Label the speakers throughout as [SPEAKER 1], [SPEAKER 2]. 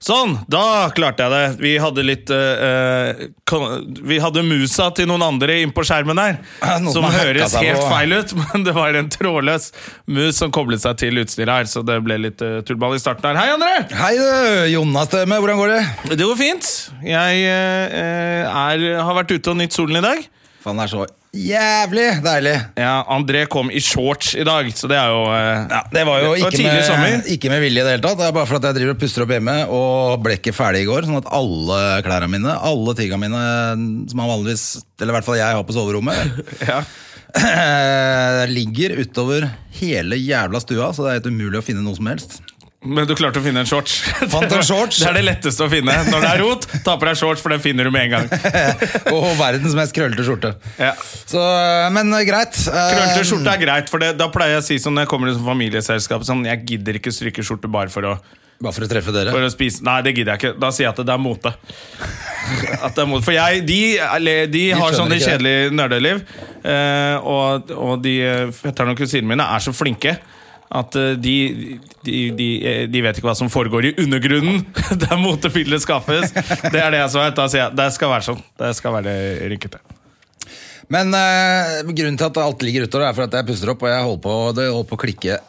[SPEAKER 1] Sånn, da klarte jeg det. Vi hadde litt eh, eh, kon- Vi hadde musa til noen andre inn på skjermen der.
[SPEAKER 2] noen
[SPEAKER 1] Som
[SPEAKER 2] har hacka
[SPEAKER 1] høres
[SPEAKER 2] seg
[SPEAKER 1] helt
[SPEAKER 2] på-
[SPEAKER 1] feil ut, men det var en trådløs mus som koblet seg til utstyret her, så det ble litt eh, tullball i starten her. Hei, André!
[SPEAKER 2] Hei, du, Jonas Støme. Hvordan går det?
[SPEAKER 1] Det går fint. Jeg eh, er, har vært ute og nytt solen i dag.
[SPEAKER 2] Faen, det er så jævlig deilig.
[SPEAKER 1] Ja, André kom i shorts i dag, så det er jo eh,
[SPEAKER 2] Ja, det var jo
[SPEAKER 1] det var
[SPEAKER 2] ikke
[SPEAKER 1] tidlig sommer.
[SPEAKER 2] med, ikke med vilje i det hele tatt. Det er bare for at jeg driver og puster opp hjemme og ble ikke ferdig i går. Sånn at alle klærne mine, alle tinga mine som man vanligvis, eller i hvert fall jeg har på soverommet, eh,
[SPEAKER 1] Ja.
[SPEAKER 2] ligger utover hele jævla stua, så det er helt umulig å finne noe som helst.
[SPEAKER 1] Men du klarte å finne en shorts.
[SPEAKER 2] Fant en shorts.
[SPEAKER 1] Det er det letteste å finne. Når det er rot, ta på deg shorts, for den finner du med en gang.
[SPEAKER 2] Og verdens mest krøllete skjorte.
[SPEAKER 1] Ja.
[SPEAKER 2] Så, eh, men greit.
[SPEAKER 1] Krøllete
[SPEAKER 2] Um,
[SPEAKER 1] skjorte er greit, for det, da pleier jeg å si sånn når jeg kommer til familieselskap sånn, Jeg gidder ikke stryke skjorte bare for å,
[SPEAKER 2] Eh, Bare for å treffe dere.
[SPEAKER 1] for å spise Nei, det gidder jeg ikke. Da sier jeg at det er mote. At det er mote. For jeg, de, eller, de har
[SPEAKER 2] skjønner
[SPEAKER 1] sånn
[SPEAKER 2] ikke det.
[SPEAKER 1] kjedelig nerdeliv, eh, og, og de eh, fetterne og kusinene mine er så flinke. At eh, de, de, de, eh, de vet ikke hva som foregår i undergrunnen, der motefyllet skapes. Det er det jeg som vet. Da sier jeg det skal være sånn. Det skal være rynkete.
[SPEAKER 2] Men eh, grunnen til at alt ligger utover, er for at jeg puster opp, og jeg holdt på, det holdt på å klikke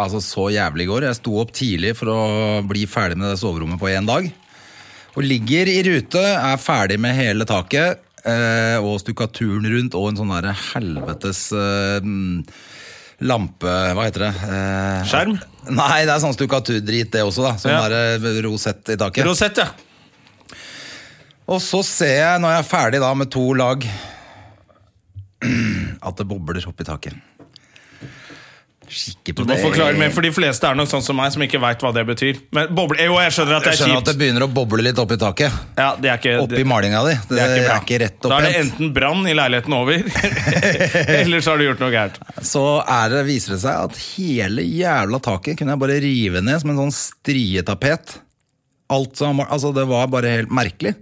[SPEAKER 2] altså, så jævlig i går. Jeg sto opp tidlig for å bli ferdig med det soverommet på én dag. Og ligger i rute, er ferdig med hele taket, eh, og stukkaturen rundt, og en sånn derre helvetes eh, mm, lampe Hva heter det? Eh,
[SPEAKER 1] Skjerm?
[SPEAKER 2] Nei, det er sånn stukkaturdrit, det også, da. Sånn
[SPEAKER 1] Ja.
[SPEAKER 2] derre rosett i taket.
[SPEAKER 1] Rosett, ja.
[SPEAKER 2] Og så ser jeg, når jeg er ferdig da med to lag, at det bobler opp i taket. Skikke på
[SPEAKER 1] Du må
[SPEAKER 2] det.
[SPEAKER 1] forklare mer, for de fleste er nok sånn som meg, som ikke veit hva det betyr. Men boble, jo, jeg skjønner at det
[SPEAKER 2] Jeg
[SPEAKER 1] er
[SPEAKER 2] skjønner at
[SPEAKER 1] kjipt.
[SPEAKER 2] det begynner å boble litt opp i taket.
[SPEAKER 1] Ja, det er ikke,
[SPEAKER 2] Opp i
[SPEAKER 1] det,
[SPEAKER 2] malinga di. Det,
[SPEAKER 1] det er ikke bra.
[SPEAKER 2] rett
[SPEAKER 1] da er det
[SPEAKER 2] opprent.
[SPEAKER 1] enten brann i leiligheten over, eller så har du gjort noe gærent.
[SPEAKER 2] Så er det, viser det seg at hele jævla taket kunne jeg bare rive ned som en sånn strietapet. Alt som, altså det var bare helt merkelig.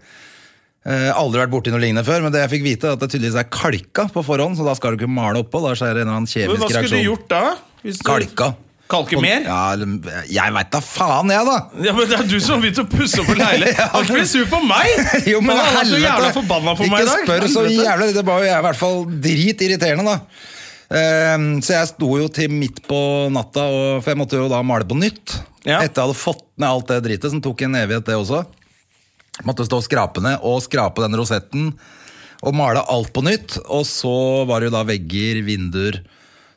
[SPEAKER 2] Eh, aldri vært borti noe lignende før, men det jeg fikk vite, er at det tydeligvis er kalka på forhånd, så da skal du ikke male oppå. Da skjer det en eller annen
[SPEAKER 1] Men
[SPEAKER 2] kjemisk
[SPEAKER 1] Hva skulle
[SPEAKER 2] reaksjon.
[SPEAKER 1] du gjort da? Hvis du-
[SPEAKER 2] Kalka.
[SPEAKER 1] Kalke mer?
[SPEAKER 2] Ja, eller- jeg veit da faen, jeg, da!
[SPEAKER 1] Ja, men Det er du som har begynt å pusse opp en leilighet. Har ikke blitt sur på meg!
[SPEAKER 2] Jo, men
[SPEAKER 1] Han er så
[SPEAKER 2] helvete.
[SPEAKER 1] jævla forbanna på meg i dag.
[SPEAKER 2] Ikke spør så
[SPEAKER 1] Helvete.
[SPEAKER 2] jævlig. Det var jo jeg i hvert fall dritirriterende, da. Ehm, så jeg sto jo til midt på natta, og, for jeg måtte jo da male på nytt.
[SPEAKER 1] Ja.
[SPEAKER 2] Etter jeg hadde fått ned alt det dritet, som tok en evighet, det også. Måtte stå og skrape ned, og skrape den rosetten, og male alt på nytt. Og så var det jo da vegger, vinduer,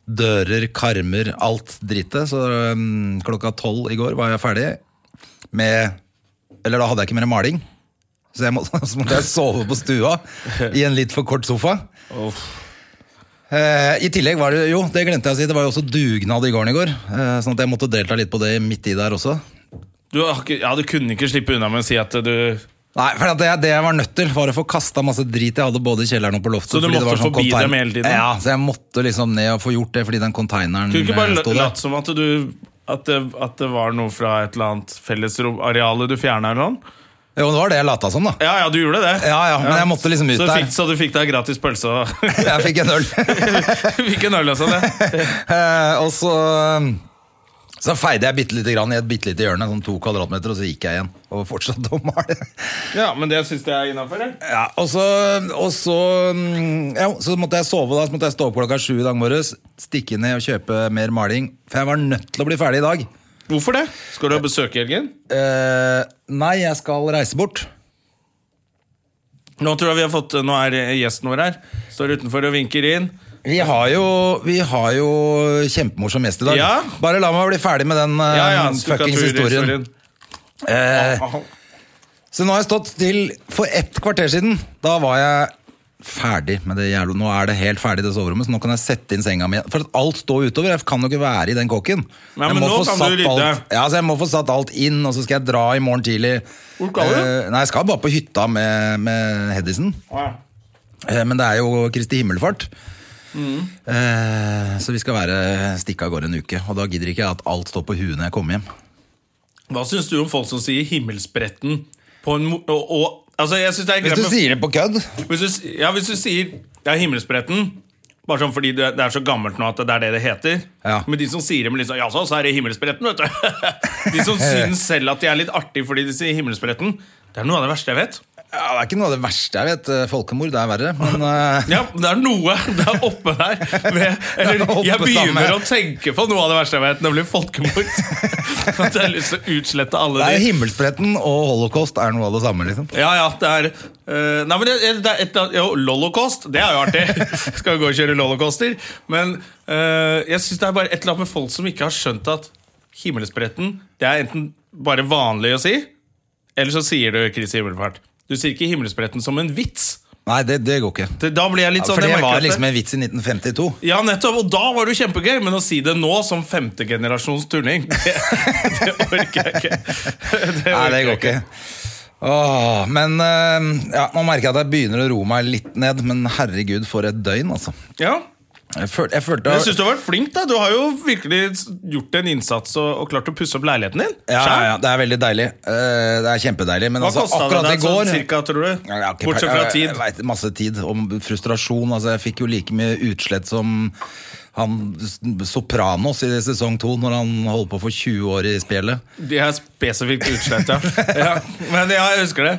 [SPEAKER 2] dører, karmer, alt dritet. Så ehm, klokka tolv i går var jeg ferdig med Eller da hadde jeg ikke mer maling. Så, jeg måtte, så måtte jeg sove på stua i en litt for kort sofa. Eh, I tillegg var det jo, det glemte jeg å si, det var jo også dugnad i gården i går. Eh, sånn at jeg måtte delta litt på det midt i der også.
[SPEAKER 1] Du, har ikke, ja, du kunne ikke slippe unna med å si at du
[SPEAKER 2] Nei, for at det, det jeg var nødt til, var å få kasta masse drit jeg hadde både i kjelleren og på loftet.
[SPEAKER 1] Så du
[SPEAKER 2] fordi det
[SPEAKER 1] måtte
[SPEAKER 2] var sånn
[SPEAKER 1] forbi
[SPEAKER 2] container-
[SPEAKER 1] dem hele tiden?
[SPEAKER 2] Ja, så jeg måtte liksom ned og få gjort det fordi den konteineren
[SPEAKER 1] Kunne ikke
[SPEAKER 2] eh,
[SPEAKER 1] bare
[SPEAKER 2] sto der.
[SPEAKER 1] latt som at du at det, at det var noe fra et eller annet fellesrom-areale du fjerna eller noe?
[SPEAKER 2] Jo, det var det jeg lata som, da.
[SPEAKER 1] Ja, ja, du gjorde det.
[SPEAKER 2] Ja, ja, men jeg måtte liksom ut
[SPEAKER 1] så
[SPEAKER 2] der.
[SPEAKER 1] Fikk, så du fikk deg gratis pølse og
[SPEAKER 2] Jeg fikk en øl.
[SPEAKER 1] fikk en øl og sånn? ja.
[SPEAKER 2] Eh, og så, så feide jeg bitte lite grann i et bitte lite hjørne, sånn to kvadratmeter, og så gikk jeg igjen. Og fortsatte å male.
[SPEAKER 1] Ja, men det syns jeg er innafor.
[SPEAKER 2] Ja, og så, og så, mm, ja, så måtte jeg sove, da. Så måtte jeg stå opp klokka sju i dag morges, stikke ned og kjøpe mer maling. For jeg var nødt til å bli ferdig i dag.
[SPEAKER 1] Hvorfor det? Skal du ha besøk i helgen?
[SPEAKER 2] Eh, nei, jeg skal reise bort.
[SPEAKER 1] Nå tror jeg vi har fått Nå er gjesten vår her. Står utenfor og vinker inn.
[SPEAKER 2] Vi har jo, vi har jo kjempemorsom gjest i dag.
[SPEAKER 1] Ja.
[SPEAKER 2] Bare la meg bli ferdig med den eh,
[SPEAKER 1] Ja, ja,
[SPEAKER 2] fuckings historien.
[SPEAKER 1] stukkaturhistorien.
[SPEAKER 2] Eh,
[SPEAKER 1] Aha.
[SPEAKER 2] Så nå har jeg stått til for ett kvarter siden. Da var jeg ferdig med det jævla Nå er det helt ferdig, det soverommet, så nå kan jeg sette inn senga mi igjen. For at alt står utover. Jeg kan jo ikke være i den kåken.
[SPEAKER 1] Nei,
[SPEAKER 2] Jeg
[SPEAKER 1] men
[SPEAKER 2] må
[SPEAKER 1] nå
[SPEAKER 2] få
[SPEAKER 1] kan
[SPEAKER 2] satt
[SPEAKER 1] du rydde.
[SPEAKER 2] alt- Ja, så jeg må få satt alt inn, og så skal jeg dra i morgen tidlig.
[SPEAKER 1] Hvor skal du?
[SPEAKER 2] Eh, Nei, jeg skal bare på hytta med, med Hedisen. Eh, Men det er jo Kristi himmelfart.
[SPEAKER 1] Mm.
[SPEAKER 2] Eh, Så vi skal være stikke av gårde en uke. Og da gidder ikke jeg at alt står på huet når jeg kommer hjem.
[SPEAKER 1] Hva syns du om folk som sier 'himmelspretten' på en mo- og, og, altså, jeg synes det er
[SPEAKER 2] Hvis
[SPEAKER 1] greit
[SPEAKER 2] du
[SPEAKER 1] med-
[SPEAKER 2] sier det på kødd
[SPEAKER 1] Hvis du, s- ja, hvis du sier det er himmelspretten bare sånn fordi det, det er så gammelt nå at det er det det heter.
[SPEAKER 2] Ja.
[SPEAKER 1] Men de som sier det med litt sånn Ja, så, så er det himmelspretten, vet du. De som syns selv at de er litt artige fordi de sier himmelspretten. Det er noe av det verste jeg vet.
[SPEAKER 2] ja, Det er ikke noe av det verste jeg vet. eh, Folkemord det er verre. Men eh,
[SPEAKER 1] Ja, det er noe der oppe der med, Eller
[SPEAKER 2] Det er oppe
[SPEAKER 1] jeg begynner
[SPEAKER 2] sammen.
[SPEAKER 1] å tenke på noe av det verste jeg vet, nemlig folkemord. At jeg har lyst til å utslette alle
[SPEAKER 2] det er
[SPEAKER 1] de
[SPEAKER 2] himmelspretten og holocaust er noe av det samme. liksom
[SPEAKER 1] Ja, ja, det er eh, Nei, men det, det er et eller annet Jo, lolocost, det er jo artig. Skal jo gå og kjøre lolocoster. Men eh, jeg syns det er bare et eller annet med folk som ikke har skjønt at himmelspretten Det er enten bare vanlig å si, eller så sier du Kristi himmelfart. Du sier ikke himmelspretten som en vits.
[SPEAKER 2] Nei, det, det går ikke.
[SPEAKER 1] Det- Da blir jeg litt sånn
[SPEAKER 2] For det
[SPEAKER 1] jeg merker at
[SPEAKER 2] var
[SPEAKER 1] det-
[SPEAKER 2] liksom en vits i 1952.
[SPEAKER 1] Ja, nettopp, og da var det jo kjempegøy, men å si det nå som femtegenerasjons turning, det, det orker jeg ikke. Det
[SPEAKER 2] Nei, det
[SPEAKER 1] orker jeg
[SPEAKER 2] går ikke. Åh, men eh, ja, nå merker jeg at jeg begynner å roe meg litt ned, men herregud, for et døgn, altså.
[SPEAKER 1] Ja,
[SPEAKER 2] Jeg følte, jeg følte
[SPEAKER 1] men jeg synes du har vært flink da, du har jo virkelig gjort en innsats og, og klart å pusse opp leiligheten din.
[SPEAKER 2] ja, ja,
[SPEAKER 1] Skjønn?
[SPEAKER 2] ja, det er veldig deilig. Eh, det er kjempedeilig. Men
[SPEAKER 1] Hva
[SPEAKER 2] altså,
[SPEAKER 1] kostet det
[SPEAKER 2] akkurat i
[SPEAKER 1] deg
[SPEAKER 2] går
[SPEAKER 1] sånn cirka, tror du?
[SPEAKER 2] Ja, jeg har ikke
[SPEAKER 1] Bortsett
[SPEAKER 2] peil-
[SPEAKER 1] fra
[SPEAKER 2] jeg-
[SPEAKER 1] tid.
[SPEAKER 2] Jeg vet, masse tid og frustrasjon. Altså, jeg fikk jo like mye utslett som han s- Sopranos i sesong to, når han holdt på for 20 år i spjeldet.
[SPEAKER 1] De er spesifikt utslett, ja. ja. Men ja, jeg husker det.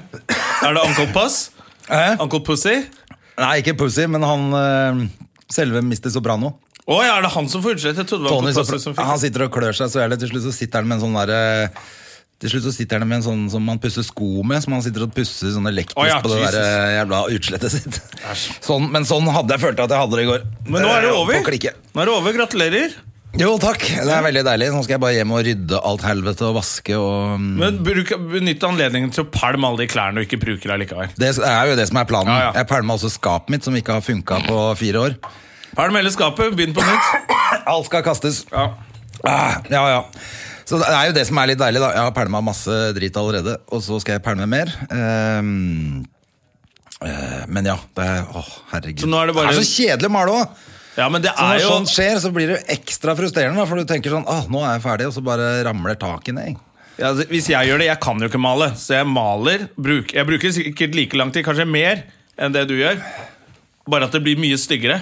[SPEAKER 1] Er det Uncle Puss?
[SPEAKER 2] Hæ?
[SPEAKER 1] Uncle Pussy?
[SPEAKER 2] Nei, ikke Pussy, men han eh, selve Mr. Soprano.
[SPEAKER 1] Åja, er det han som får utslett? Jeg trodde det var
[SPEAKER 2] Tony Ah,
[SPEAKER 1] Uncle
[SPEAKER 2] Sopra
[SPEAKER 1] Pussy som
[SPEAKER 2] han
[SPEAKER 1] fikk
[SPEAKER 2] sitter og klør seg så jævlig. Til slutt så sitter han med en sånn derre til slutt så sitter han med en sånn som man pusser sko med, som han sitter og pusser sånn elektrisk
[SPEAKER 1] Å ja,
[SPEAKER 2] på det
[SPEAKER 1] Jesus.
[SPEAKER 2] der eh, jævla utslettet sitt. Sånn, men sånn hadde jeg følt at jeg hadde det i går.
[SPEAKER 1] Men nå er det
[SPEAKER 2] Eh,
[SPEAKER 1] over.
[SPEAKER 2] På klikke.
[SPEAKER 1] Nå er det over, gratulerer.
[SPEAKER 2] Jo, takk. Det er veldig deilig. Nå skal jeg bare hjem og rydde alt helvete og vaske og mm,
[SPEAKER 1] Men bruk, benytt anledningen til å palme alle de klærne du ikke bruker allikevel.
[SPEAKER 2] Det er jo det som er planen.
[SPEAKER 1] Ja, ja.
[SPEAKER 2] Jeg pælma også skapet mitt, som ikke har funka på fire år.
[SPEAKER 1] Palm hele skapet, begynn på nytt.
[SPEAKER 2] Alt skal kastes.
[SPEAKER 1] Ja.
[SPEAKER 2] Ah, ja, ja. Så det er jo det som er litt deilig, da. Jeg har pælma masse drit allerede, og så skal jeg pælme mer. Ehm, eh, men ja, det er, åh, herregud.
[SPEAKER 1] Så nå er det bare-
[SPEAKER 2] så kjedelig å male òg!
[SPEAKER 1] ja, men det
[SPEAKER 2] Så
[SPEAKER 1] er
[SPEAKER 2] når
[SPEAKER 1] jo
[SPEAKER 2] sånt skjer, så blir det jo ekstra frustrerende. da, For du tenker sånn ah, 'Nå er jeg ferdig', og så bare ramler taket ned.
[SPEAKER 1] ja, altså, Hvis jeg gjør det, jeg kan jo ikke male, så jeg maler. Bruk, jeg bruker sikkert like lang tid, kanskje mer enn det du gjør. Bare at det blir mye styggere.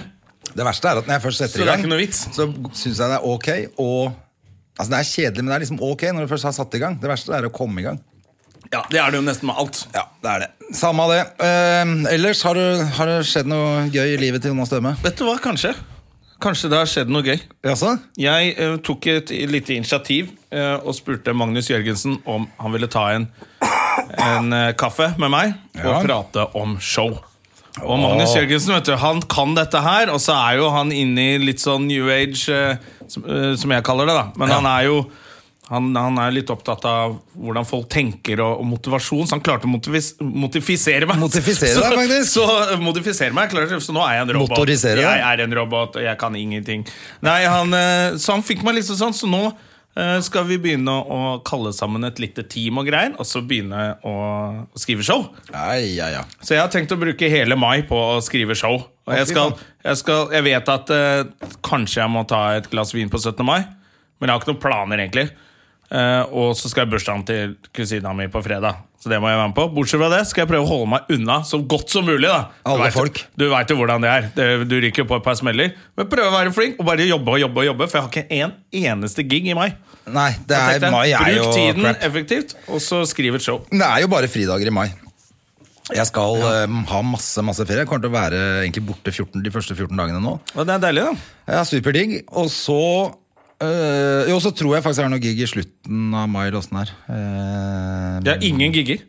[SPEAKER 2] Det verste er at når jeg først setter
[SPEAKER 1] Så
[SPEAKER 2] i
[SPEAKER 1] det er
[SPEAKER 2] gang,
[SPEAKER 1] ikke noe vits.
[SPEAKER 2] så syns jeg det er ok og Altså Det er kjedelig, men det er liksom ok når du først har satt i gang. Det verste er å komme i gang.
[SPEAKER 1] Ja, Det er det jo nesten med alt.
[SPEAKER 2] Ja, det er det. Samme av det. Ehm, ellers, har, du, har det skjedd noe gøy i livet til Jonas Døme?
[SPEAKER 1] Vet du hva, kanskje? Kanskje det har skjedd noe gøy.
[SPEAKER 2] Jaså?
[SPEAKER 1] Jeg eh, tok et lite initiativ eh, og spurte Magnus Jørgensen om han ville ta en, en eh, kaffe med meg
[SPEAKER 2] Ja.
[SPEAKER 1] og prate om show. Og Magnus Jørgensen vet du, han kan dette her, og så er jo han inne i litt sånn new age, eh, som, eh, som jeg kaller det. da. Men han er jo han, han er litt opptatt av hvordan folk tenker og, og motivasjon, så han klarte å motivis, motifisere meg.
[SPEAKER 2] Motifisere
[SPEAKER 1] så,
[SPEAKER 2] deg, faktisk.
[SPEAKER 1] Så eh, modifisere meg, klarte, så nå er jeg en robot.
[SPEAKER 2] Motorisere deg.
[SPEAKER 1] Jeg er en robot, og jeg kan ingenting. Nei, han, eh, Så han fikk meg liksom sånn, så nå eh, skal vi begynne å kalle sammen et lite team og greier, og så begynne å skrive show.
[SPEAKER 2] Ai, ja, ja.
[SPEAKER 1] Så jeg har tenkt å bruke hele mai på å skrive show. Og jeg,
[SPEAKER 2] fy
[SPEAKER 1] skal,
[SPEAKER 2] faen.
[SPEAKER 1] jeg, skal, jeg vet at eh, kanskje jeg må ta et glass vin på 17. mai, men jeg har ikke noen planer, egentlig. Eh, og så skal jeg i bursdagen til kusina mi på fredag. Så det må jeg være med på. Bortsett fra det skal jeg prøve å holde meg unna så godt som mulig. da Du
[SPEAKER 2] Alle
[SPEAKER 1] vet-
[SPEAKER 2] folk.
[SPEAKER 1] Du veit jo hvordan det er. Det- Du ryker på et par smeller. Men prøve å være flink og bare jobbe og jobbe, og jobbe for jeg har ikke en eneste gig i mai.
[SPEAKER 2] Nei, det
[SPEAKER 1] Jeg
[SPEAKER 2] er
[SPEAKER 1] tenkte,
[SPEAKER 2] mai er jo
[SPEAKER 1] Bruk tiden
[SPEAKER 2] crap.
[SPEAKER 1] effektivt, og så skriv et show.
[SPEAKER 2] Det er jo bare fridager i mai. Jeg skal ehm, ha masse masse ferie. Jeg kommer til å være egentlig borte 14, de første 14 dagene nå.
[SPEAKER 1] Og det er deilig, da.
[SPEAKER 2] Ja, superdigg. Og så øh, Jo, så tror jeg faktisk jeg har noe gig i slutten av mai. eller åssen det er. Ehm,
[SPEAKER 1] Jeg har ingen gigger.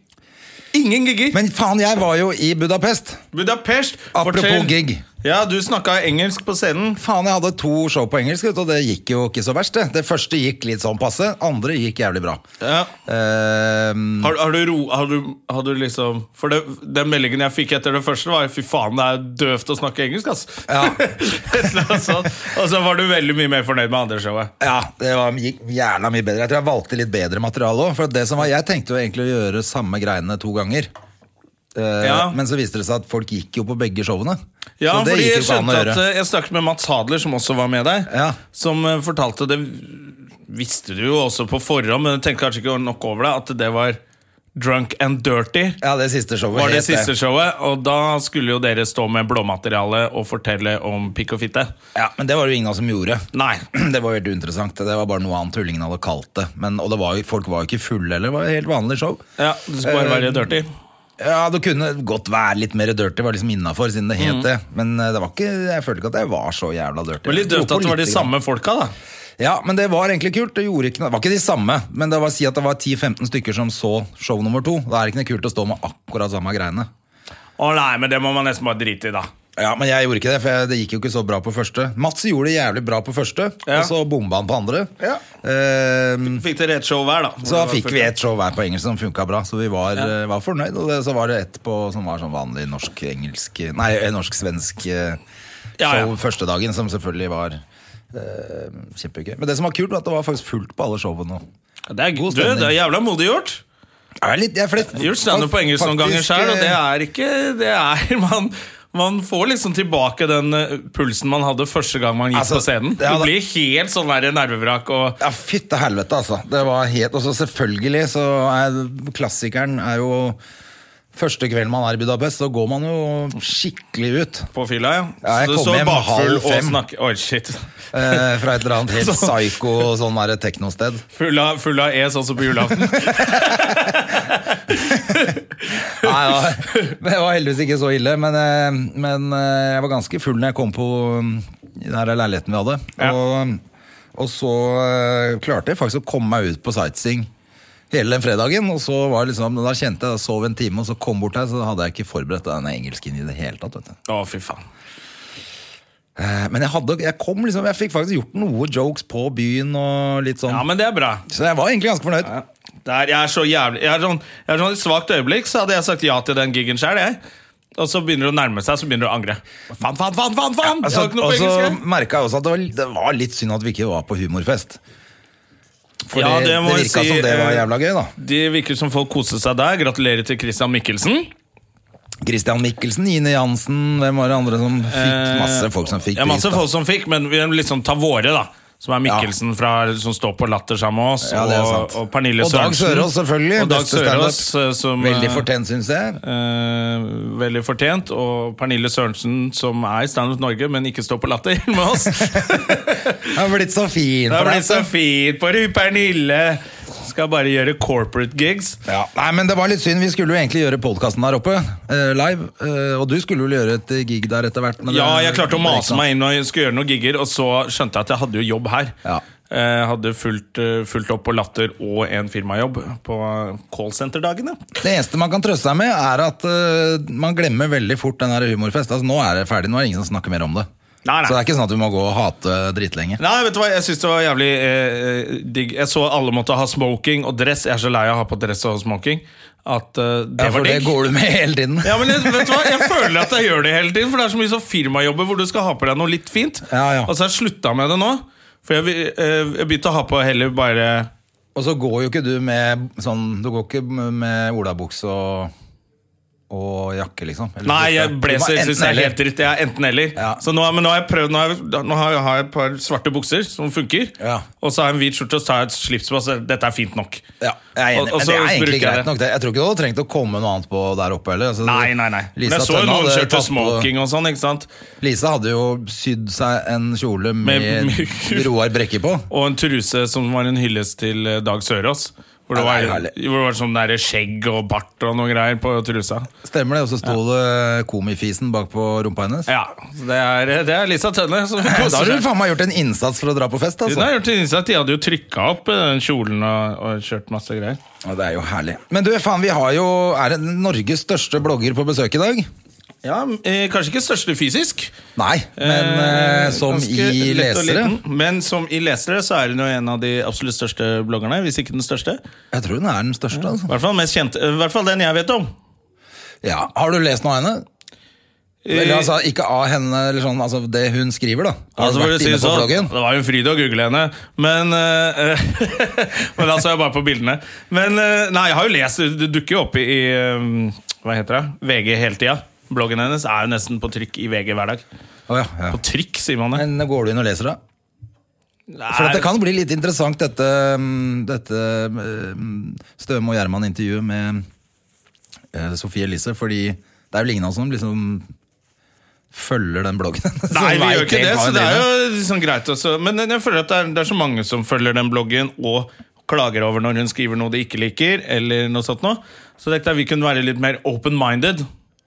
[SPEAKER 1] Ingen gigger!
[SPEAKER 2] Men faen, jeg var jo i Budapest!
[SPEAKER 1] Budapest
[SPEAKER 2] Apropos
[SPEAKER 1] fortell-
[SPEAKER 2] gig.
[SPEAKER 1] Ja, du snakka engelsk på scenen.
[SPEAKER 2] Faen, jeg hadde to show på engelsk, vet du, og det gikk jo ikke så verst. Det Det første gikk litt sånn passe, andre gikk jævlig bra.
[SPEAKER 1] Ja.
[SPEAKER 2] Ehm,
[SPEAKER 1] Har, har, du ro, har, du, har du liksom For det, den meldingen jeg fikk etter det første, var fy faen, det er døvt å snakke engelsk, ass.
[SPEAKER 2] Ja.
[SPEAKER 1] og, så, og så var du veldig mye mer fornøyd med andre showet.
[SPEAKER 2] ja, det var, gikk jævla mye bedre. Jeg tror jeg valgte litt bedre materiale òg. For det som var, jeg tenkte jo egentlig å gjøre samme greiene to ganger. Eh,
[SPEAKER 1] Ja.
[SPEAKER 2] Men så viste det seg at folk gikk jo på begge showene.
[SPEAKER 1] Ja,
[SPEAKER 2] så det
[SPEAKER 1] fordi
[SPEAKER 2] gikk
[SPEAKER 1] jeg
[SPEAKER 2] jo ikke an å
[SPEAKER 1] skjønte at
[SPEAKER 2] gjøre.
[SPEAKER 1] eh, Jeg snakket med Mats Hadler, som også var med der,
[SPEAKER 2] Ja.
[SPEAKER 1] som eh, fortalte det Visste du jo også på forhånd, men tenkte kanskje ikke nok over det, at det var Drunk and Dirty.
[SPEAKER 2] Ja, det siste showet
[SPEAKER 1] var det
[SPEAKER 2] het
[SPEAKER 1] siste showet, og da skulle jo dere stå med blåmateriale og fortelle om pikk og fitte.
[SPEAKER 2] Ja, men det var det jo ingen som gjorde.
[SPEAKER 1] Nei.
[SPEAKER 2] Det var jo helt uinteressant. Det var bare noe annet tullingen hadde kalt det. Men, og det var, jo- folk var jo ikke fulle heller. Det var et helt vanlig show.
[SPEAKER 1] Ja, du skal bare være
[SPEAKER 2] Eh,
[SPEAKER 1] dirty.
[SPEAKER 2] Ja, det kunne godt være litt mer dirty, var liksom innafor, siden det het det. Men eh, det var ikke, jeg følte ikke at jeg var så jævla dirty.
[SPEAKER 1] Mm. Men litt
[SPEAKER 2] Jeg dro
[SPEAKER 1] døvt
[SPEAKER 2] på
[SPEAKER 1] at det var de
[SPEAKER 2] litt grann.
[SPEAKER 1] samme folka, da.
[SPEAKER 2] Ja, men det var egentlig kult. Det, gjorde ikke noe. det var ikke de samme, men det var å si at det var 10-15 stykker som så show nummer to. Da er det ikke noe kult å stå med akkurat samme greiene.
[SPEAKER 1] Å nei, men det må man nesten bare drite i, da.
[SPEAKER 2] Ja, men jeg gjorde ikke det, for jeg, det gikk jo ikke så bra på første. Mats gjorde det jævlig bra på første,
[SPEAKER 1] Ja.
[SPEAKER 2] og så bomba han på andre.
[SPEAKER 1] Ja.
[SPEAKER 2] Ehm,
[SPEAKER 1] Fikk dere et show hver, da.
[SPEAKER 2] så da fikk vi et show hver på engelsk som funka bra, så vi var, eh, var fornøyd. Og det, så var det ett på som var sånn vanlig norsk-engelsk Nei, eh, norsk-svensk eh,
[SPEAKER 1] Ja, ja.
[SPEAKER 2] show første dagen, som selvfølgelig var eh, kjempegøy. Men det som var kult, var at det var faktisk fullt på alle showene. nå.
[SPEAKER 1] Det er,
[SPEAKER 2] God
[SPEAKER 1] du, det er
[SPEAKER 2] stemning.
[SPEAKER 1] jævla modig gjort.
[SPEAKER 2] Jeg er litt, jeg er flett,
[SPEAKER 1] Gjort standup på engelsk noen ganger
[SPEAKER 2] faktisk,
[SPEAKER 1] sjøl, og det
[SPEAKER 2] eh,
[SPEAKER 1] er ikke Det er man man får liksom tilbake den eh, pulsen man hadde første gang man gikk
[SPEAKER 2] Altså,
[SPEAKER 1] på scenen.
[SPEAKER 2] ja,
[SPEAKER 1] du
[SPEAKER 2] da-
[SPEAKER 1] blir helt sånn der nervevrak og
[SPEAKER 2] Ja, fytte helvete, altså. Det var helt Og så selvfølgelig, så er klassikeren er jo Første kvelden man er i Budapest, så går man jo skikkelig ut
[SPEAKER 1] på fylla, ja.
[SPEAKER 2] Ja, jeg
[SPEAKER 1] så du
[SPEAKER 2] kom
[SPEAKER 1] så
[SPEAKER 2] hjem
[SPEAKER 1] bakfull
[SPEAKER 2] halv
[SPEAKER 1] og
[SPEAKER 2] fem.
[SPEAKER 1] snakke Oi, shit.
[SPEAKER 2] eh, fra et eller annet helt
[SPEAKER 1] Så-
[SPEAKER 2] psyko sånn der teknosted.
[SPEAKER 1] Full av, full av E, sånn som på julaften.
[SPEAKER 2] Nei, ja, det var heldigvis ikke så ille, men, eh, men eh, jeg var ganske full når jeg kom på um, den her leiligheten vi hadde.
[SPEAKER 1] Ja.
[SPEAKER 2] Og, um, og så eh, klarte jeg faktisk å komme meg ut på sightseeing hele den fredagen. Og så var det liksom, da kjente jeg, da sov en time, og så kom bort her, så hadde jeg ikke forberedt den engelsken i det hele tatt. vet du.
[SPEAKER 1] Å, fy faen.
[SPEAKER 2] Eh, Men jeg, hadde, jeg kom liksom, jeg fikk faktisk gjort noen jokes på byen og litt sånn.
[SPEAKER 1] Ja, men det er bra.
[SPEAKER 2] Så jeg var egentlig ganske fornøyd.
[SPEAKER 1] Der, jeg er så jævlig Jeg er sånn, jeg er sånn i et svakt øyeblikk så hadde jeg sagt ja til den gigen sjøl, jeg. Og så begynner det å nærme seg, så begynner du å angre. Faen, faen, faen! faen, faen. Jeg
[SPEAKER 2] Altså,
[SPEAKER 1] har ikke noe på
[SPEAKER 2] og
[SPEAKER 1] engelsk,
[SPEAKER 2] så merka jeg også at det var, det var litt synd at vi ikke var på humorfest. For
[SPEAKER 1] Ja,
[SPEAKER 2] det,
[SPEAKER 1] det
[SPEAKER 2] det,
[SPEAKER 1] må jeg
[SPEAKER 2] virka
[SPEAKER 1] si,
[SPEAKER 2] som det var
[SPEAKER 1] eh,
[SPEAKER 2] jævla gøy, da.
[SPEAKER 1] jeg. Det virker som folk koste seg der. Gratulerer til Christian Mikkelsen.
[SPEAKER 2] Christian Mikkelsen, Ine Jansen, hvem var det andre som fikk masse folk som fikk
[SPEAKER 1] Eh, Ja, masse
[SPEAKER 2] pris? da.
[SPEAKER 1] folk som fikk, men vi må liksom ta våre, da. Som er Mikkelsen fra, som står på Latter sammen med oss.
[SPEAKER 2] Ja, det er sant.
[SPEAKER 1] og, og Pernille
[SPEAKER 2] Og Dag
[SPEAKER 1] Sørensen.
[SPEAKER 2] Sørås, selvfølgelig.
[SPEAKER 1] Og Dag
[SPEAKER 2] beste standup.
[SPEAKER 1] Sørås, eh, som
[SPEAKER 2] Veldig
[SPEAKER 1] eh,
[SPEAKER 2] fortjent, syns jeg.
[SPEAKER 1] Eh, veldig fortjent. Og Pernille Sørensen, som er i Standup Norge, men ikke står på latter med oss.
[SPEAKER 2] Det har blitt så fin
[SPEAKER 1] Det har
[SPEAKER 2] for deg.
[SPEAKER 1] blitt så
[SPEAKER 2] altså.
[SPEAKER 1] fint på du, Pernille! Skal bare gjøre corporate gigs.
[SPEAKER 2] Ja. Nei, men det var litt synd. Vi skulle jo egentlig gjøre podkasten der oppe, eh, live. eh, og du skulle vel gjøre et eh, gig der etter hvert. men
[SPEAKER 1] Ja,
[SPEAKER 2] det-
[SPEAKER 1] jeg klarte å
[SPEAKER 2] det gikk
[SPEAKER 1] mase
[SPEAKER 2] sånn.
[SPEAKER 1] meg inn og skulle gjøre noen gigger, og så skjønte jeg at jeg hadde jo jobb her.
[SPEAKER 2] Ja.
[SPEAKER 1] Eh, hadde fulgt, eh, fulgt opp på Latter og en firmajobb på callsenterdagene.
[SPEAKER 2] Det eneste man kan trøste seg med, er at eh, man glemmer veldig fort den her humorfest. Altså, nå er det ferdig, nå er det ingen som snakker mer om det.
[SPEAKER 1] Nei, nei.
[SPEAKER 2] Så det er ikke sånn at du må gå og hate dritlenge.
[SPEAKER 1] Nei, vet du hva, jeg syns det var jævlig eh, digg. Jeg så alle måtte ha smoking og dress. Jeg er så lei av å ha på dress og smoking at eh, det
[SPEAKER 2] Ja, for
[SPEAKER 1] var
[SPEAKER 2] det
[SPEAKER 1] digg.
[SPEAKER 2] går du med hele tiden.
[SPEAKER 1] Ja, men jeg, vet du hva? Jeg føler at jeg gjør det hele tiden, for det er så mye sånn firmajobber hvor du skal ha på deg noe litt fint.
[SPEAKER 2] Ja, ja.
[SPEAKER 1] Og så har jeg slutta med det nå. For jeg, vil- eh, jeg begynte å ha på heller bare
[SPEAKER 2] Og så går jo ikke du med sånn Du går ikke med olabukse og, og jakke, liksom. Eller
[SPEAKER 1] Nei, jeg
[SPEAKER 2] skjorte.
[SPEAKER 1] blazer
[SPEAKER 2] Du må
[SPEAKER 1] syns jeg er
[SPEAKER 2] enten
[SPEAKER 1] helt dritt. Jeg er enten-eller.
[SPEAKER 2] Ja.
[SPEAKER 1] Så nå, har- men nå har jeg prøvd Nå har jeg, nå har jeg, har jeg et par svarte bukser som funker,
[SPEAKER 2] Ja.
[SPEAKER 1] og så har jeg en hvit skjorte og så har jeg et slips på. Så dette er fint nok.
[SPEAKER 2] eller. ja, jeg er enig.
[SPEAKER 1] Og- og
[SPEAKER 2] Men
[SPEAKER 1] så
[SPEAKER 2] det er
[SPEAKER 1] bruker
[SPEAKER 2] egentlig
[SPEAKER 1] jeg det.
[SPEAKER 2] greit nok. det. Jeg tror ikke du hadde trengt å komme noe annet på der oppe heller. Altså,
[SPEAKER 1] Nei, nei, nei. Men
[SPEAKER 2] Lisa
[SPEAKER 1] jeg så jo
[SPEAKER 2] Tønne
[SPEAKER 1] noen
[SPEAKER 2] hadde
[SPEAKER 1] kjørte
[SPEAKER 2] tatt på-
[SPEAKER 1] smoking og sånn, ikke sant?
[SPEAKER 2] Lisa hadde jo sydd seg en kjole med,
[SPEAKER 1] Med- med-
[SPEAKER 2] Roar Brekke på.
[SPEAKER 1] Og en truse som var en hyllest til eh, Dag Sørås. Hvor det
[SPEAKER 2] Ja,
[SPEAKER 1] var,
[SPEAKER 2] det er
[SPEAKER 1] hvor
[SPEAKER 2] herlig.
[SPEAKER 1] det var sånn der skjegg og bart og noe greier på trusa.
[SPEAKER 2] Stemmer det. Og så sto det komifisen bak på rumpa hennes.
[SPEAKER 1] Ja, så det er, eh, det er Lisa Tønne. Som
[SPEAKER 2] Ja, Da har
[SPEAKER 1] koser
[SPEAKER 2] du
[SPEAKER 1] seg.
[SPEAKER 2] faen meg gjort en innsats for å dra på fest,
[SPEAKER 1] Hun har
[SPEAKER 2] altså.
[SPEAKER 1] gjort det innsett. De hadde jo trykka opp eh, den kjolen og, og kjørt masse greier.
[SPEAKER 2] Ja, det er jo herlig. Men du, faen, vi har jo Er det Norges største blogger på besøk i dag?
[SPEAKER 1] Ja, eh, Kanskje ikke største fysisk,
[SPEAKER 2] Nei, men
[SPEAKER 1] Eh,
[SPEAKER 2] eh, som
[SPEAKER 1] ganske
[SPEAKER 2] i
[SPEAKER 1] lett og
[SPEAKER 2] lesere
[SPEAKER 1] liten, Men som i lesere så er hun jo en av de absolutt største bloggerne, hvis ikke den største.
[SPEAKER 2] Jeg tror hun er den største.
[SPEAKER 1] I
[SPEAKER 2] Altså.
[SPEAKER 1] hvert fall, mest kjente, i hvert fall den jeg vet om.
[SPEAKER 2] Ja. Har du lest noe av henne?
[SPEAKER 1] Eh.
[SPEAKER 2] Eller, altså, ikke av henne, eller sånn, altså, det hun skriver, da. Har
[SPEAKER 1] Altså,
[SPEAKER 2] du
[SPEAKER 1] for å
[SPEAKER 2] vært
[SPEAKER 1] si
[SPEAKER 2] inne
[SPEAKER 1] det
[SPEAKER 2] på
[SPEAKER 1] sånn,
[SPEAKER 2] bloggen?
[SPEAKER 1] det var jo en fryd å google henne, men eh, Men da så jeg bare på bildene. Men eh, nei, jeg har jo lest Det dukker jo opp i, i eh, hva heter det, VG hele tida. Bloggen hennes er jo nesten på trykk i VG hver dag.
[SPEAKER 2] Å, ja, ja.
[SPEAKER 1] På trykk, sier man det.
[SPEAKER 2] Men går du inn og leser, da? For at det kan bli litt interessant, dette, mm, dette mm, Støme og Gjerman-intervjuet med eh, Sofie Elise, fordi det er vel ingen av oss som liksom følger den bloggen. hennes,
[SPEAKER 1] Nei,
[SPEAKER 2] som
[SPEAKER 1] vi
[SPEAKER 2] vet
[SPEAKER 1] gjør ikke
[SPEAKER 2] helt
[SPEAKER 1] det,
[SPEAKER 2] hva
[SPEAKER 1] så
[SPEAKER 2] hun
[SPEAKER 1] det er
[SPEAKER 2] driver med.
[SPEAKER 1] jo liksom greit også. Men jeg føler at det er, det er så mange som følger den bloggen og klager over når hun skriver noe de ikke liker, eller noe sånt noe. Så dette er vi kunne være litt mer open-minded.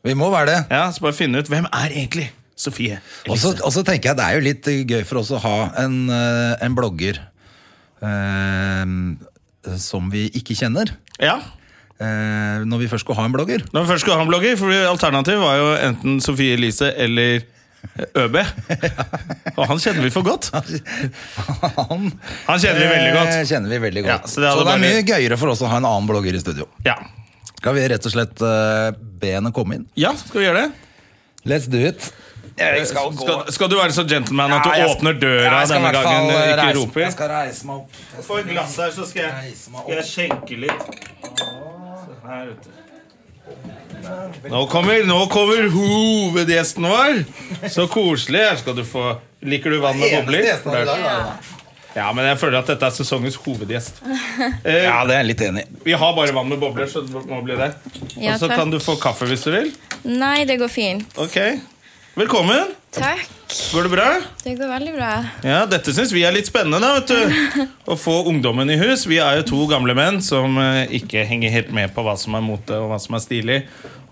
[SPEAKER 2] Vi må være det.
[SPEAKER 1] Ja, så bare finne ut hvem er egentlig Sofie
[SPEAKER 2] Og så
[SPEAKER 1] Elise.
[SPEAKER 2] og så tenker jeg det er jo litt eh, gøy for oss å ha en, eh, en blogger eh, som vi ikke kjenner.
[SPEAKER 1] Ja,
[SPEAKER 2] eh, når vi først skal ha en blogger.
[SPEAKER 1] når vi først skulle ha en blogger, for alternativet var jo enten Sofie Elise eller ØB. Og han kjenner vi for godt.
[SPEAKER 2] Han,
[SPEAKER 1] Han kjenner vi veldig godt.
[SPEAKER 2] eh, Kjenner vi veldig
[SPEAKER 1] Ja,
[SPEAKER 2] godt.
[SPEAKER 1] så
[SPEAKER 2] så
[SPEAKER 1] det
[SPEAKER 2] det,
[SPEAKER 1] hadde
[SPEAKER 2] er mye
[SPEAKER 1] bare-
[SPEAKER 2] gøyere for oss å ha en annen blogger i studio.
[SPEAKER 1] Ja,
[SPEAKER 2] Skal vi rett og slett eh, be henne komme inn?
[SPEAKER 1] ja skal vi gjøre det?
[SPEAKER 2] Let's do it. Jeg skal gå.
[SPEAKER 1] Skal, skal du være så gentleman at du
[SPEAKER 2] Ja, jeg skal-
[SPEAKER 1] åpner døra
[SPEAKER 2] Ja, jeg skal
[SPEAKER 1] denne
[SPEAKER 2] i hvert fall
[SPEAKER 1] gangen? Ikke
[SPEAKER 2] reise-
[SPEAKER 1] roper?
[SPEAKER 2] Jeg skal reise meg opp.
[SPEAKER 1] Få et glass her, så skal jeg,
[SPEAKER 2] Reise meg opp.
[SPEAKER 1] skal jeg skjenke litt. Se Her ute. Nå kommer, nå kommer hovedgjesten vår! Så koselig. Her skal du få Liker du vann med bobler?
[SPEAKER 2] Eneste gjesten i dag, da.
[SPEAKER 1] Ja, men jeg føler at dette er sesongens hovedgjest.
[SPEAKER 2] Ja, det er jeg litt enig i.
[SPEAKER 1] Vi har bare vann med bobler, så det må bli det. Og
[SPEAKER 3] Ja,
[SPEAKER 1] så
[SPEAKER 3] takk.
[SPEAKER 1] kan du få kaffe hvis du vil.
[SPEAKER 3] Nei, det går fint.
[SPEAKER 1] Ok. Velkommen.
[SPEAKER 3] Takk.
[SPEAKER 1] Går det bra?
[SPEAKER 3] Det går veldig bra.
[SPEAKER 1] Ja, Dette syns vi er litt spennende, da, vet du. Å få ungdommen i hus. Vi er jo to gamle menn som eh, ikke henger helt med på hva som er mote, og hva som er stilig,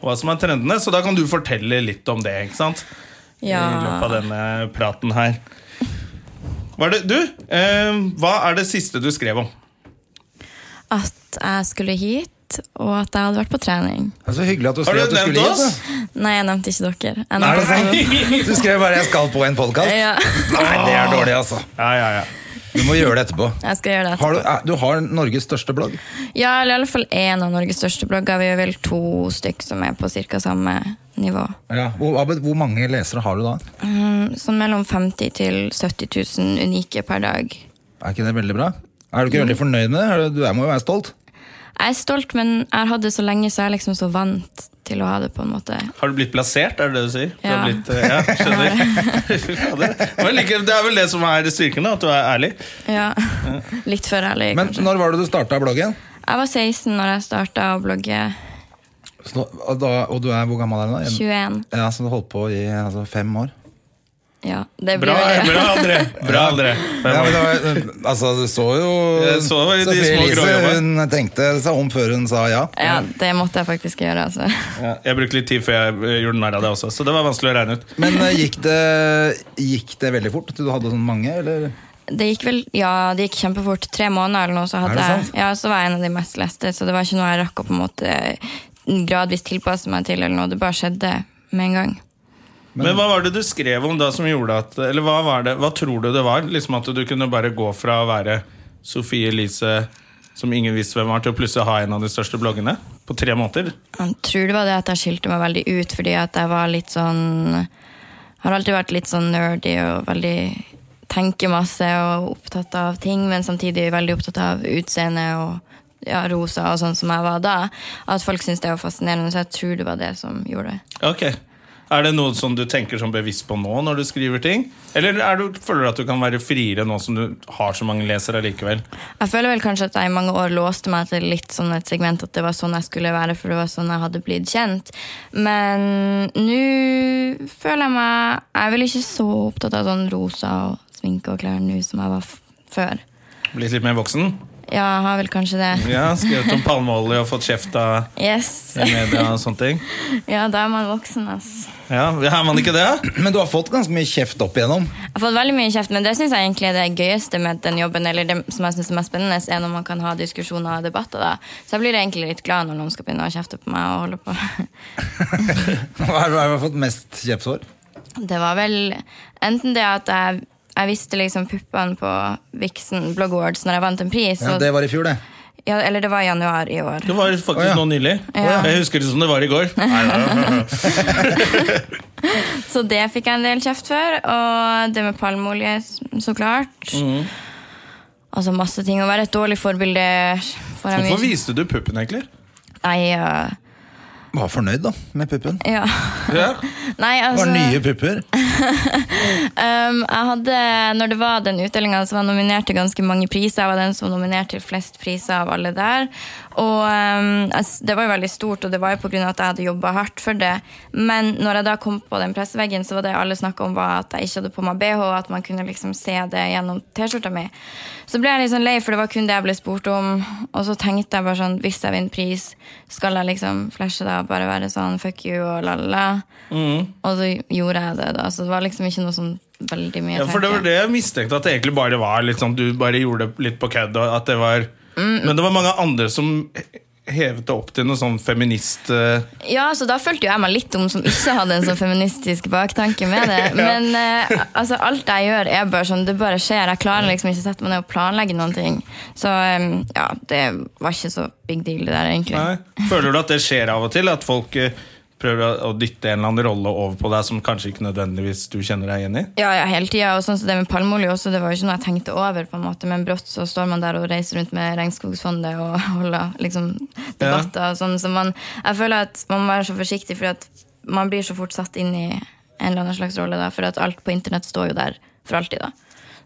[SPEAKER 1] og hva som er trendene. Så da kan du fortelle litt om det, ikke sant? I løpet av
[SPEAKER 3] Ja.
[SPEAKER 1] denne praten her. Hva er det, du, eh, hva er det siste du skrev om?
[SPEAKER 3] At jeg skulle hit, og at jeg hadde vært på trening.
[SPEAKER 2] Det er så Altså, hyggelig at du
[SPEAKER 1] Har
[SPEAKER 2] skrev
[SPEAKER 1] du
[SPEAKER 2] at du
[SPEAKER 1] nevnt
[SPEAKER 2] skulle hit.
[SPEAKER 1] oss?
[SPEAKER 2] da.
[SPEAKER 3] Nei, jeg nevnte ikke dere. Jeg
[SPEAKER 2] Er det
[SPEAKER 3] nevnte
[SPEAKER 2] sant? Du skrev bare 'jeg skal på en podkast'.
[SPEAKER 3] Ja.
[SPEAKER 2] Nei, det er dårlig, altså.
[SPEAKER 1] Ja, ja, ja.
[SPEAKER 2] Du må gjøre det etterpå.
[SPEAKER 3] Jeg skal gjøre det.
[SPEAKER 2] Har du,
[SPEAKER 3] etterpå.
[SPEAKER 2] eh, du har Norges største blogg.
[SPEAKER 3] Ja, eller i alle fall én av Norges største blogger. Vi er vel to stykk som er på ca. samme nivå.
[SPEAKER 2] Hvor, Abed, hvor mange lesere har du da?
[SPEAKER 3] Sånn mellom 50 til 70 000 unike per dag.
[SPEAKER 2] Er ikke det veldig bra? Er du ikke veldig fornøyd med det? Er du- Du er- må jo være stolt.
[SPEAKER 3] Jeg er stolt, men jeg har hatt det så lenge, så jeg er liksom så vant til å ha det, på en måte.
[SPEAKER 1] Har du blitt plassert, er det det du sier? Du har
[SPEAKER 3] Ja.
[SPEAKER 1] blitt, eh, ja skjønner. Fy fader. Men like, det er vel det som er styrken, da, at du er ærlig.
[SPEAKER 3] Ja. Litt for ærlig,
[SPEAKER 2] Men
[SPEAKER 3] kanskje.
[SPEAKER 2] når var det du starta bloggen?
[SPEAKER 3] Jeg var 16 når jeg starta å blogge.
[SPEAKER 2] Så, nå- og, da, og du er hvor gammel er du da?
[SPEAKER 3] 21.
[SPEAKER 2] Ja, Så du holdt på i altså, fem år?
[SPEAKER 3] Ja, det blir
[SPEAKER 1] Bra,
[SPEAKER 3] jo det.
[SPEAKER 1] bra André. Bra, André.
[SPEAKER 2] Ja, men det var, altså, du så jo
[SPEAKER 1] Jeg så jo de
[SPEAKER 2] Sofie
[SPEAKER 1] små grå
[SPEAKER 2] Elise hun tenkte seg om før hun sa ja.
[SPEAKER 3] Ja, det måtte jeg faktisk gjøre, altså.
[SPEAKER 1] Ja, jeg brukte litt tid før jeg eh, gjorde narr av det også, så det var vanskelig å regne ut.
[SPEAKER 2] Men eh, gikk det, gikk det veldig fort? Du hadde sånn mange, eller?
[SPEAKER 3] Det gikk vel, ja, det gikk kjempefort. Tre måneder eller noe, så,
[SPEAKER 2] Er
[SPEAKER 3] hadde
[SPEAKER 2] det
[SPEAKER 3] jeg,
[SPEAKER 2] sant?
[SPEAKER 3] ja, så var jeg en av de mest leste. Så det var ikke noe jeg rakk å på en måte gradvis tilpasse meg til. eller noe. Det bare skjedde med en gang.
[SPEAKER 1] Men, hva var det du skrev om da som gjorde at Eller hva var det, hva tror du det var? Liksom At du kunne bare gå fra å være Sofie Elise, som ingen visste hvem var, til å plutselig ha en av de største bloggene på tre måneder?
[SPEAKER 3] Jeg tror det var det at jeg skilte meg veldig ut, fordi at jeg var litt sånn Har alltid vært litt sånn nerdy og veldig tenker masse og opptatt av ting, men samtidig veldig opptatt av utseende og ja, rosa og sånn som jeg var da. At folk syntes det var fascinerende, så jeg tror det var det som gjorde det.
[SPEAKER 1] Ok Er det noe som du tenker som bevisst på nå når du skriver ting? Eller er du, føler du at du kan være friere nå som du har så mange lesere likevel?
[SPEAKER 3] Jeg føler vel kanskje at jeg i mange år låste meg til litt sånn et segment at det var sånn jeg skulle være, for det var sånn jeg hadde blitt kjent. Men nå føler jeg meg Jeg er vel ikke så opptatt av sånn rosa og sminke og klær nå som jeg var f før.
[SPEAKER 1] Blitt litt mer voksen?
[SPEAKER 3] Ja, jeg har vel kanskje det.
[SPEAKER 1] Ja, Skrevet om palmeolje og fått kjeft av
[SPEAKER 3] Yes.
[SPEAKER 1] media og sånne ting.
[SPEAKER 3] Ja, da er man voksen, ass.
[SPEAKER 1] Ja, Er man ikke det?
[SPEAKER 2] Men du har fått ganske mye kjeft opp igjennom.
[SPEAKER 3] Jeg har fått veldig mye kjeft, men det syns jeg egentlig er det gøyeste med den jobben. Eller det som jeg synes er mest spennende, er når man kan ha diskusjoner og debatter. Da. Så jeg blir egentlig litt glad når noen skal begynne å kjefte på meg og holde på.
[SPEAKER 2] Hva har du hva har du fått mest kjeft for?
[SPEAKER 3] Det var vel enten det at jeg, jeg visste liksom puppene på Vixen Blog Awards når jeg vant en pris.
[SPEAKER 2] Ja,
[SPEAKER 3] og-
[SPEAKER 2] det var i fjor, det.
[SPEAKER 3] ja, eller det var i januar i år.
[SPEAKER 1] Det var faktisk
[SPEAKER 2] Å, ja.
[SPEAKER 1] nå nylig.
[SPEAKER 3] Ja.
[SPEAKER 1] Jeg husker det som det var i går. Nei, nei, nei.
[SPEAKER 3] Så det fikk jeg en del kjeft for. Og det med palmeolje, så klart.
[SPEAKER 2] Mm.
[SPEAKER 3] Altså masse ting. Å være et dårlig forbilde for en
[SPEAKER 1] Hvorfor
[SPEAKER 3] mye-
[SPEAKER 1] viste du puppen, egentlig?
[SPEAKER 3] Nei, ja.
[SPEAKER 2] Var fornøyd, da, med puppen.
[SPEAKER 3] ja.
[SPEAKER 1] Ja.
[SPEAKER 3] Nei,
[SPEAKER 2] Det var
[SPEAKER 3] altså
[SPEAKER 2] nye pupper.
[SPEAKER 3] Um, jeg hadde, når det var den utdelinga, så var jeg nominert til ganske mange priser. Jeg var den som nominerte til flest priser av alle der. Og um, ass- det var jo veldig stort, og det var jo pga. at jeg hadde jobba hardt for det. Men når jeg da kom på den presseveggen, så var det alle snakka om var at jeg ikke hadde på meg BH, og at man kunne liksom se det gjennom T-skjorta mi. Så ble jeg litt sånn lei, for det var kun det jeg ble spurt om. Og så tenkte jeg bare sånn, hvis jeg vinner pris, skal jeg liksom flashe det og bare være sånn fuck you og la-la. Og så gjorde jeg det, da. Så det var liksom ikke noe sånn veldig mye
[SPEAKER 1] Ja, for det var
[SPEAKER 3] tanke.
[SPEAKER 1] det jeg mistenkte, at det egentlig bare var litt sånn, du bare gjorde det litt på kødd. og At det var Men det var mange andre som hevet det opp til noe sånn feminist eh,
[SPEAKER 3] Ja, så da følte jo jeg meg litt om som ikke hadde en sånn feministisk baktanke med det. Men eh, altså, alt jeg gjør, er bare sånn, det bare skjer. Jeg klarer liksom ikke å sette meg ned og planlegge noen ting. Så eh, ja, det var ikke så big deal, det der, egentlig.
[SPEAKER 1] Nei. Føler du at det skjer av og til? At folk eh, prøver å- å dytte en eller annen rolle over på deg som kanskje ikke nødvendigvis du kjenner deg igjen i?
[SPEAKER 3] Ja, ja, hele tida. Og sånn som det med palmeolje også, det var jo ikke noe jeg tenkte over. på en måte, Men brått så står man der og reiser rundt med Regnskogsfondet og holder liksom debatter og sånn. Så man, jeg føler at man må være så forsiktig, for at man blir så fort satt inn i en eller annen slags rolle. da, For at alt på internett står jo der for alltid, da.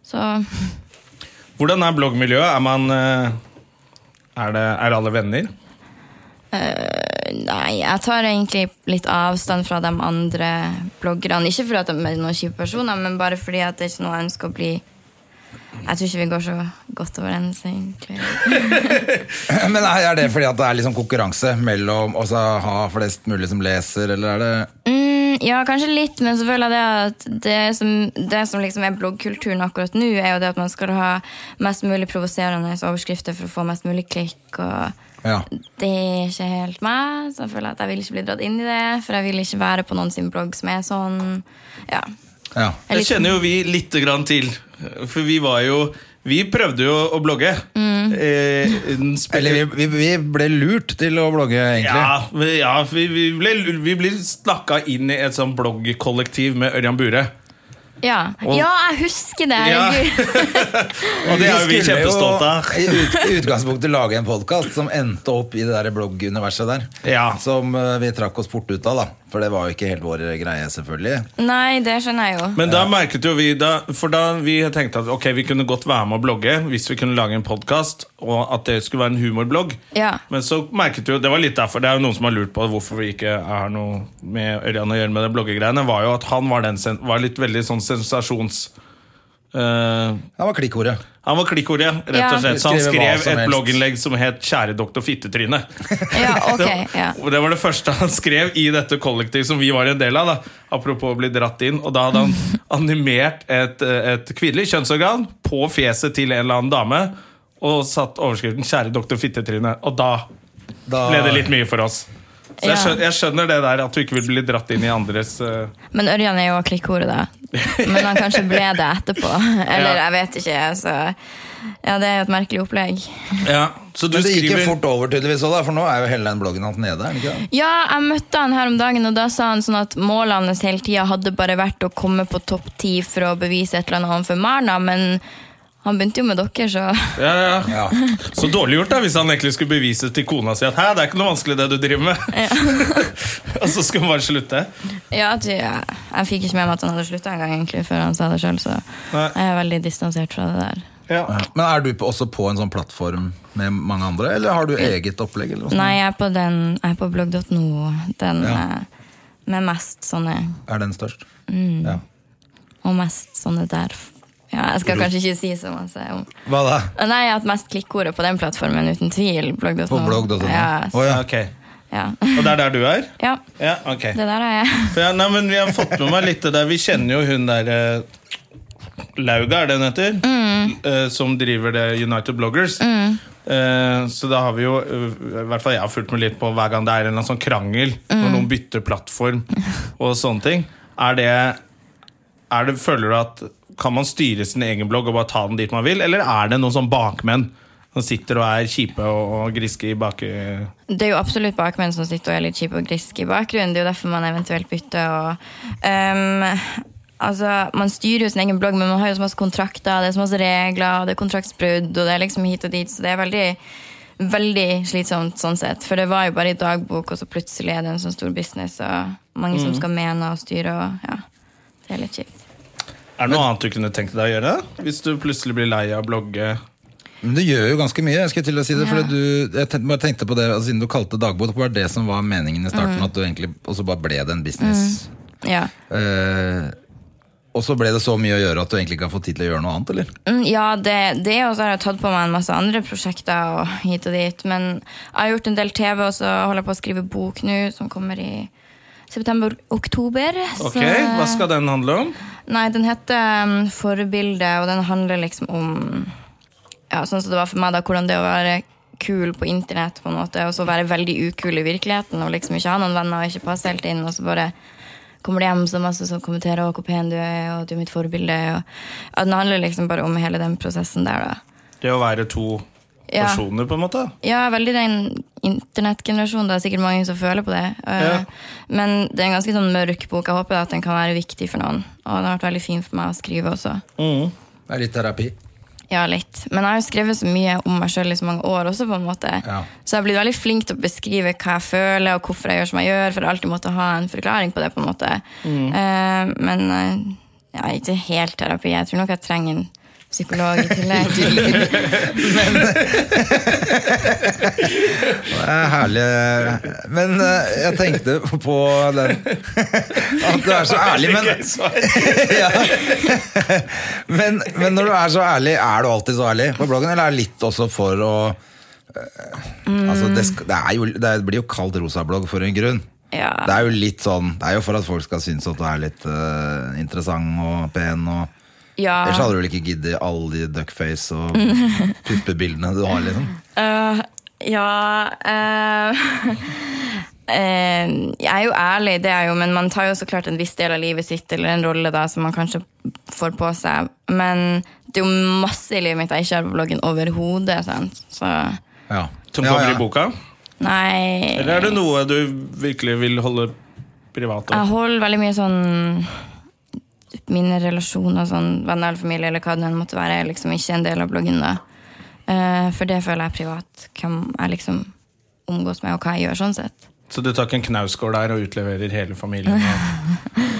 [SPEAKER 3] Så
[SPEAKER 1] Hvordan er bloggmiljøet? Er man eh, er, det, er alle venner?
[SPEAKER 3] nei, jeg tar egentlig litt avstand fra de andre bloggerne. Ikke fordi at de er noen kjipe personer, men bare fordi at det er ikke noe jeg ønsker å bli Jeg tror ikke vi går så godt overens, egentlig.
[SPEAKER 2] Men er er det fordi at det er liksom konkurranse mellom å ha flest mulig som leser, eller er det
[SPEAKER 3] Mm, ja, kanskje litt, men så føler jeg det at det som, det som liksom er bloggkulturen akkurat nå, er jo det at man skal ha mest mulig provoserende overskrifter for å få mest mulig klikk. og
[SPEAKER 2] Ja.
[SPEAKER 3] Det er ikke helt meg, så jeg føler at jeg vil ikke bli dratt inn i det. For jeg vil ikke være på noen sin blogg som er sånn. Ja.
[SPEAKER 2] ja.
[SPEAKER 3] Jeg er
[SPEAKER 1] Det
[SPEAKER 3] litt-
[SPEAKER 1] kjenner jo vi lite grann til. For vi var jo Vi prøvde jo å blogge. Eh, en spe-
[SPEAKER 2] Eller vi, vi, vi ble lurt til å blogge, egentlig.
[SPEAKER 1] Ja, vi- ja vi, vi, ble, vi ble snakka inn i et sånn bloggkollektiv med Ørjan Bure.
[SPEAKER 3] Ja. ja, jeg husker det!
[SPEAKER 1] Ja.
[SPEAKER 3] herregud.
[SPEAKER 1] Og det er jo vi
[SPEAKER 2] skulle
[SPEAKER 1] kjempestolte av.
[SPEAKER 2] I ut, i utgangspunktet lage en podkast som endte opp i det der blogguniverset der.
[SPEAKER 1] Ja.
[SPEAKER 2] Som eh, vi trakk oss fort ut av, da. For det var jo ikke helt vår greie, selvfølgelig.
[SPEAKER 3] Nei, det skjønner jeg jo.
[SPEAKER 1] Men da merket jo vi da, For da vi tenkte at ok, vi kunne godt være med å blogge hvis vi kunne lage en podkast, og at det skulle være en humorblogg.
[SPEAKER 3] Ja.
[SPEAKER 1] Men så merket vi jo, det var litt derfor Det er jo noen som har lurt på hvorfor vi ikke har noe med Ørjan å gjøre med det bloggegreiene. Var jo at han var, den, sen- var litt veldig sånn sensasjons... eh,
[SPEAKER 2] Det var klikkordet.
[SPEAKER 1] han var klikkordet, rett
[SPEAKER 3] Ja.
[SPEAKER 1] og slett. Så han
[SPEAKER 2] Skrive hva
[SPEAKER 1] skrev
[SPEAKER 2] som
[SPEAKER 1] et
[SPEAKER 2] helst.
[SPEAKER 1] blogginnlegg som het 'Kjære doktor Fittetryne'.
[SPEAKER 3] Ja, ok, ja.
[SPEAKER 1] Og Det var det første han skrev i dette kollektivet som vi var en del av. Da. Apropos å bli dratt inn. Og da hadde han animert et, eh, et kvinnelig kjønnsorgan på fjeset til en eller annen dame og satt overskriften 'Kjære doktor Fittetryne'. Og da
[SPEAKER 2] Da-
[SPEAKER 1] ble det litt mye for oss. Så jeg
[SPEAKER 3] Ja.
[SPEAKER 1] skjønner, jeg skjønner det der at du ikke vil bli dratt inn i andres eh,
[SPEAKER 3] Men Ørjan er jo klikkordet, da. Men han kanskje ble det etterpå. Eller
[SPEAKER 1] Ja.
[SPEAKER 3] jeg vet ikke. Så ja, det er jo et merkelig opplegg.
[SPEAKER 1] Så du
[SPEAKER 2] Men det gikk jo
[SPEAKER 1] skriver
[SPEAKER 2] fort over, tydeligvis òg, for nå er jo hele den bloggen hans nede. er det ikke det?
[SPEAKER 3] Ja, jeg møtte han her om dagen, og da sa han sånn at målet hans hele tida hadde bare vært å komme på topp ti for å bevise et eller annet overfor Marna, men han begynte jo med dere, så
[SPEAKER 1] ja, ja.
[SPEAKER 2] Ja.
[SPEAKER 1] Så dårlig gjort da, hvis han egentlig skulle bevise til kona si at Hæ, det er ikke noe vanskelig det du driver med. og så skulle hun bare slutte.
[SPEAKER 3] Ja, ty, jeg, jeg fikk ikke med meg at han hadde slutta engang, egentlig, før han sa det sjøl, så
[SPEAKER 1] Nei.
[SPEAKER 3] jeg er veldig distansert fra det der.
[SPEAKER 2] Ja. Men er du på- også på en sånn plattform med mange andre, eller har du eget opplegg? Eller noe sånt?
[SPEAKER 3] Nei, jeg er på, den- jeg er på blogg.no, den
[SPEAKER 2] Ja.
[SPEAKER 3] eh, med mest sånne
[SPEAKER 2] Er den størst? Ja.
[SPEAKER 3] Og mest sånne sånn der Ja, jeg skal kanskje ikke si så masse om
[SPEAKER 2] Hva da?
[SPEAKER 3] Nei, jeg har hatt mest klikkordet på den plattformen, uten tvil. Blogg.no.
[SPEAKER 2] På blogg.no?
[SPEAKER 3] Ja,
[SPEAKER 2] Å, ja.
[SPEAKER 1] Ok,
[SPEAKER 3] ja.
[SPEAKER 1] Og det er der du er?
[SPEAKER 3] ja,
[SPEAKER 1] Ja, ok.
[SPEAKER 3] det der er jeg.
[SPEAKER 1] For ja, nei, men Vi har fått med meg litt det der. Vi kjenner jo hun der eh, Lauga, er det hun heter?
[SPEAKER 3] Mm.
[SPEAKER 1] Eh, som driver det United Bloggers. Eh, så da har vi jo eh, I hvert fall jeg har fulgt med litt på hver gang det er en eller annen sånn krangel
[SPEAKER 3] Mm.
[SPEAKER 1] når noen bytter plattform og sånne ting. Er det, er det Føler du at kan man styre sin egen blogg og bare ta den dit man vil, eller er det noen sånn bakmenn? Som sitter og er kjipe og, og griske i baki...
[SPEAKER 3] Det er jo absolutt bakmenn som sitter og er litt kjipe og griske i bakgrunnen. Det er jo derfor man eventuelt bytter og Ehm, Altså, Man styrer jo sin egen blogg, men man har jo så masse kontrakter, det er så masse regler, og det er kontraktsbrudd, og det er liksom hit og dit, så det er veldig veldig slitsomt sånn sett. For det var jo bare i dagbok, og så plutselig er det en sånn stor business, og mange som skal mene og styre, og ja. Det er litt kjipt.
[SPEAKER 1] Er det noe annet du kunne tenkt deg å gjøre? Hvis du plutselig blir lei av å blogge?
[SPEAKER 2] Men du gjør jo ganske mye, jeg skulle til å si det. For
[SPEAKER 3] Ja.
[SPEAKER 2] du, jeg tenkte, bare tenkte på det, altså, Siden du kalte det dagbok, det var det som var meningen i starten. At du egentlig, og så bare ble det en business.
[SPEAKER 3] Ja.
[SPEAKER 2] Eh, og så ble det så mye å gjøre at du egentlig ikke har fått tid til å gjøre noe annet, eller?
[SPEAKER 3] Mm, Ja, det, det og så har jeg tatt på meg en masse andre prosjekter og hit og dit. Men jeg har gjort en del TV, og så holder jeg på å skrive bok nå, som kommer i september-oktober.
[SPEAKER 1] Ok, Hva skal den handle om?
[SPEAKER 3] Nei, den heter um, Forbilde, og den handler liksom om ja, sånn som det var for meg da, hvordan det å være kul på internett, på en måte, og så være veldig ukul i virkeligheten og liksom ikke ha noen venner og ikke passe helt inn, og så bare kommer det hjem så masse som kommenterer «Å, hvor pen du er, og du er mitt forbilde. Og, ja, den handler liksom bare om hele den prosessen der, da.
[SPEAKER 1] Det å være to
[SPEAKER 3] Ja.
[SPEAKER 1] personer, på en måte?
[SPEAKER 3] Ja, veldig den internettgenerasjonen. Det er sikkert mange som føler på det. Eh, Men det er en ganske sånn mørk bok. Jeg håper at den kan være viktig for noen. Og den har vært veldig fin for meg å skrive også.
[SPEAKER 2] Det er litt terapi.
[SPEAKER 3] Ja, litt. Men jeg har jo skrevet så mye om meg sjøl i så mange år også, på en måte.
[SPEAKER 2] Ja.
[SPEAKER 3] Så jeg har blitt veldig flink til å beskrive hva jeg føler, og hvorfor jeg gjør som jeg gjør, for jeg har alltid måttet ha en forklaring på det, på en måte. Eh, men eh, ja, ikke helt terapi. Jeg tror nok jeg trenger en psykolog i tillegg.
[SPEAKER 2] Det er herlig. Men eh, jeg tenkte på den At du er så ærlig, men
[SPEAKER 1] Ikke svar.
[SPEAKER 2] ja. men, men når du er så ærlig, er du alltid så ærlig på bloggen, eller er det litt også for å eh, Altså, det, sk- det, er jo, det blir jo kalt rosablogg for en grunn.
[SPEAKER 3] Ja.
[SPEAKER 2] Det er jo litt sånn Det er jo for at folk skal synes at du er litt eh, interessant og pen. Og,
[SPEAKER 3] Ja. Mm.
[SPEAKER 2] Ellers hadde du vel ikke giddet alle de duckface og puppebildene du har, liksom.
[SPEAKER 3] Øh, ja øh, øh, Jeg er jo ærlig, det er jeg jo, men man tar jo så klart en viss del av livet sitt eller en rolle da som man kanskje får på seg. Men det er jo masse i livet mitt jeg ikke har på bloggen overhodet. sant? Så
[SPEAKER 2] Ja.
[SPEAKER 1] Som
[SPEAKER 2] Ja,
[SPEAKER 1] kommer
[SPEAKER 2] ja.
[SPEAKER 1] i boka?
[SPEAKER 3] nei
[SPEAKER 1] Eller er det noe du virkelig vil holde privat?
[SPEAKER 3] Jeg
[SPEAKER 1] om?
[SPEAKER 3] holder veldig mye sånn mine relasjoner, sånn venner eller familie eller hva det enn måtte være, er liksom ikke en del av bloggen. da. Eh, for det føler jeg er privat. Hvem jeg liksom omgås med, og hva jeg gjør. sånn sett.
[SPEAKER 1] Så du tar ikke en knausgård der og utleverer hele familien? og-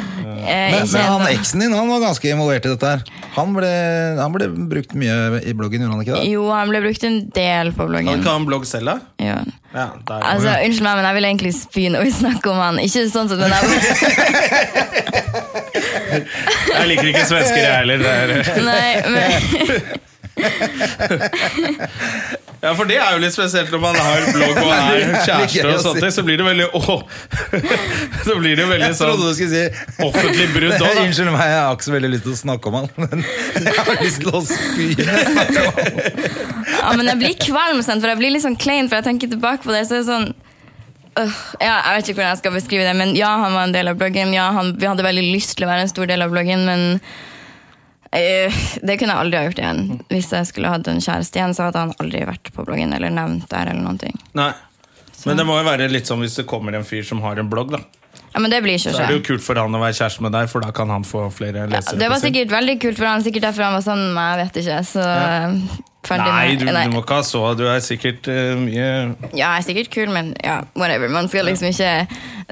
[SPEAKER 3] Eh,
[SPEAKER 2] Men,
[SPEAKER 3] ikke
[SPEAKER 2] men han
[SPEAKER 3] ennå.
[SPEAKER 2] eksen din han var ganske involvert i dette her. Han ble, han ble brukt mye i bloggen, gjorde han ikke det?
[SPEAKER 3] Jo, han ble brukt en del på
[SPEAKER 1] Kan
[SPEAKER 3] bloggen.
[SPEAKER 1] ikke ha en blogg selv, da?
[SPEAKER 3] Ja.
[SPEAKER 1] Ja, der.
[SPEAKER 3] Altså, Unnskyld meg, men jeg ville egentlig spy når vi snakker om han. Ikke sånn sett, men jeg,
[SPEAKER 1] Jeg liker ikke svensker, jeg heller. det er-
[SPEAKER 3] nei, men,
[SPEAKER 1] Ja, For det er jo litt spesielt når man har blogg og er kjæreste, og sånt, så blir det veldig åh. Så blir det jo veldig
[SPEAKER 2] Jeg trodde
[SPEAKER 1] sånn
[SPEAKER 2] du skulle si
[SPEAKER 1] offentlig brudd òg, da.
[SPEAKER 2] Unnskyld meg, jeg har ikke så veldig lyst til å snakke om han, men jeg har lyst til å spy. når jeg snakker om han.
[SPEAKER 3] ja, men jeg blir kvalm, sant, for jeg blir litt sånn klein, for jeg tenker tilbake på det. så er det sånn... øh, ja, jeg vet ikke hvordan jeg skal beskrive det, men ja, han var en del av bloggen. Ja, han, vi hadde veldig lyst til å være en stor del av bloggen, men øh, det kunne jeg aldri ha gjort igjen. Hvis jeg skulle hatt en kjæreste igjen, så hadde han aldri vært på bloggen eller nevnt der. eller noen ting.
[SPEAKER 1] Nei. Men det må jo være litt sånn hvis det kommer en fyr som har en blogg, da.
[SPEAKER 3] Ja, men det blir ikke
[SPEAKER 1] Så er det jo kult for han å være kjæreste med deg, for da kan han få flere
[SPEAKER 3] Ja,
[SPEAKER 1] lesere.
[SPEAKER 3] det
[SPEAKER 1] på
[SPEAKER 3] var
[SPEAKER 1] sin.
[SPEAKER 3] sikkert veldig kult for han, sikkert derfor han var sånn, men jeg vet ikke. Så ferdig
[SPEAKER 1] Nei,
[SPEAKER 3] med
[SPEAKER 1] du, du må ikke ha så Du er sikkert eh, mye
[SPEAKER 3] Ja, jeg er sikkert kul, men ja, whatever. Man skal liksom ikke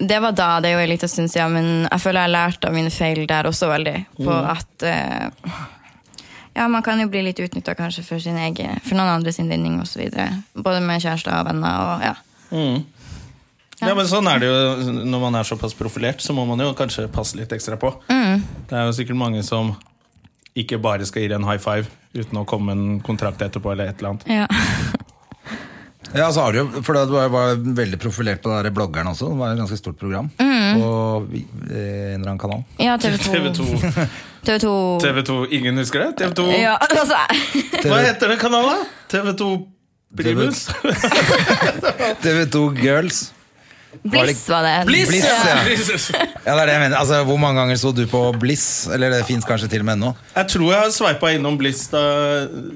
[SPEAKER 3] Det var da, det er jo en liten stund siden, men jeg føler jeg har lært av mine feil der også veldig. På
[SPEAKER 1] Mm.
[SPEAKER 3] at eh, Ja, man kan jo bli litt utnytta kanskje for sin egen For noen andres vinning osv. Både med kjærester og venner og ja.
[SPEAKER 1] Ja, men sånn er det jo Når man
[SPEAKER 3] Mm.
[SPEAKER 1] er såpass profilert, så må man jo kanskje passe litt ekstra på. Det er jo sikkert mange som ikke bare skal gi deg en high five uten å komme med en kontrakt etterpå eller et eller annet.
[SPEAKER 3] Ja.
[SPEAKER 2] Ja, så har du jo, for det var, var veldig profilert på den der bloggeren også. Det var et ganske stort program på vi- eh, en eller annen kanal.
[SPEAKER 3] ja TV 2.
[SPEAKER 1] TV 2.
[SPEAKER 3] TV 2.
[SPEAKER 1] TV 2 Ingen husker det? TV 2
[SPEAKER 3] Ja, altså,
[SPEAKER 1] Hva heter den kanalen? TV 2 Primus?
[SPEAKER 2] TV2 Girls.
[SPEAKER 3] Bliss var det.
[SPEAKER 2] Bliss,
[SPEAKER 1] ja.
[SPEAKER 2] ja. Ja, det er det jeg mener. Altså, hvor mange ganger så du på Bliss? Eller det fins kanskje til og med ennå.
[SPEAKER 1] Jeg tror jeg har sveipa innom Bliss da,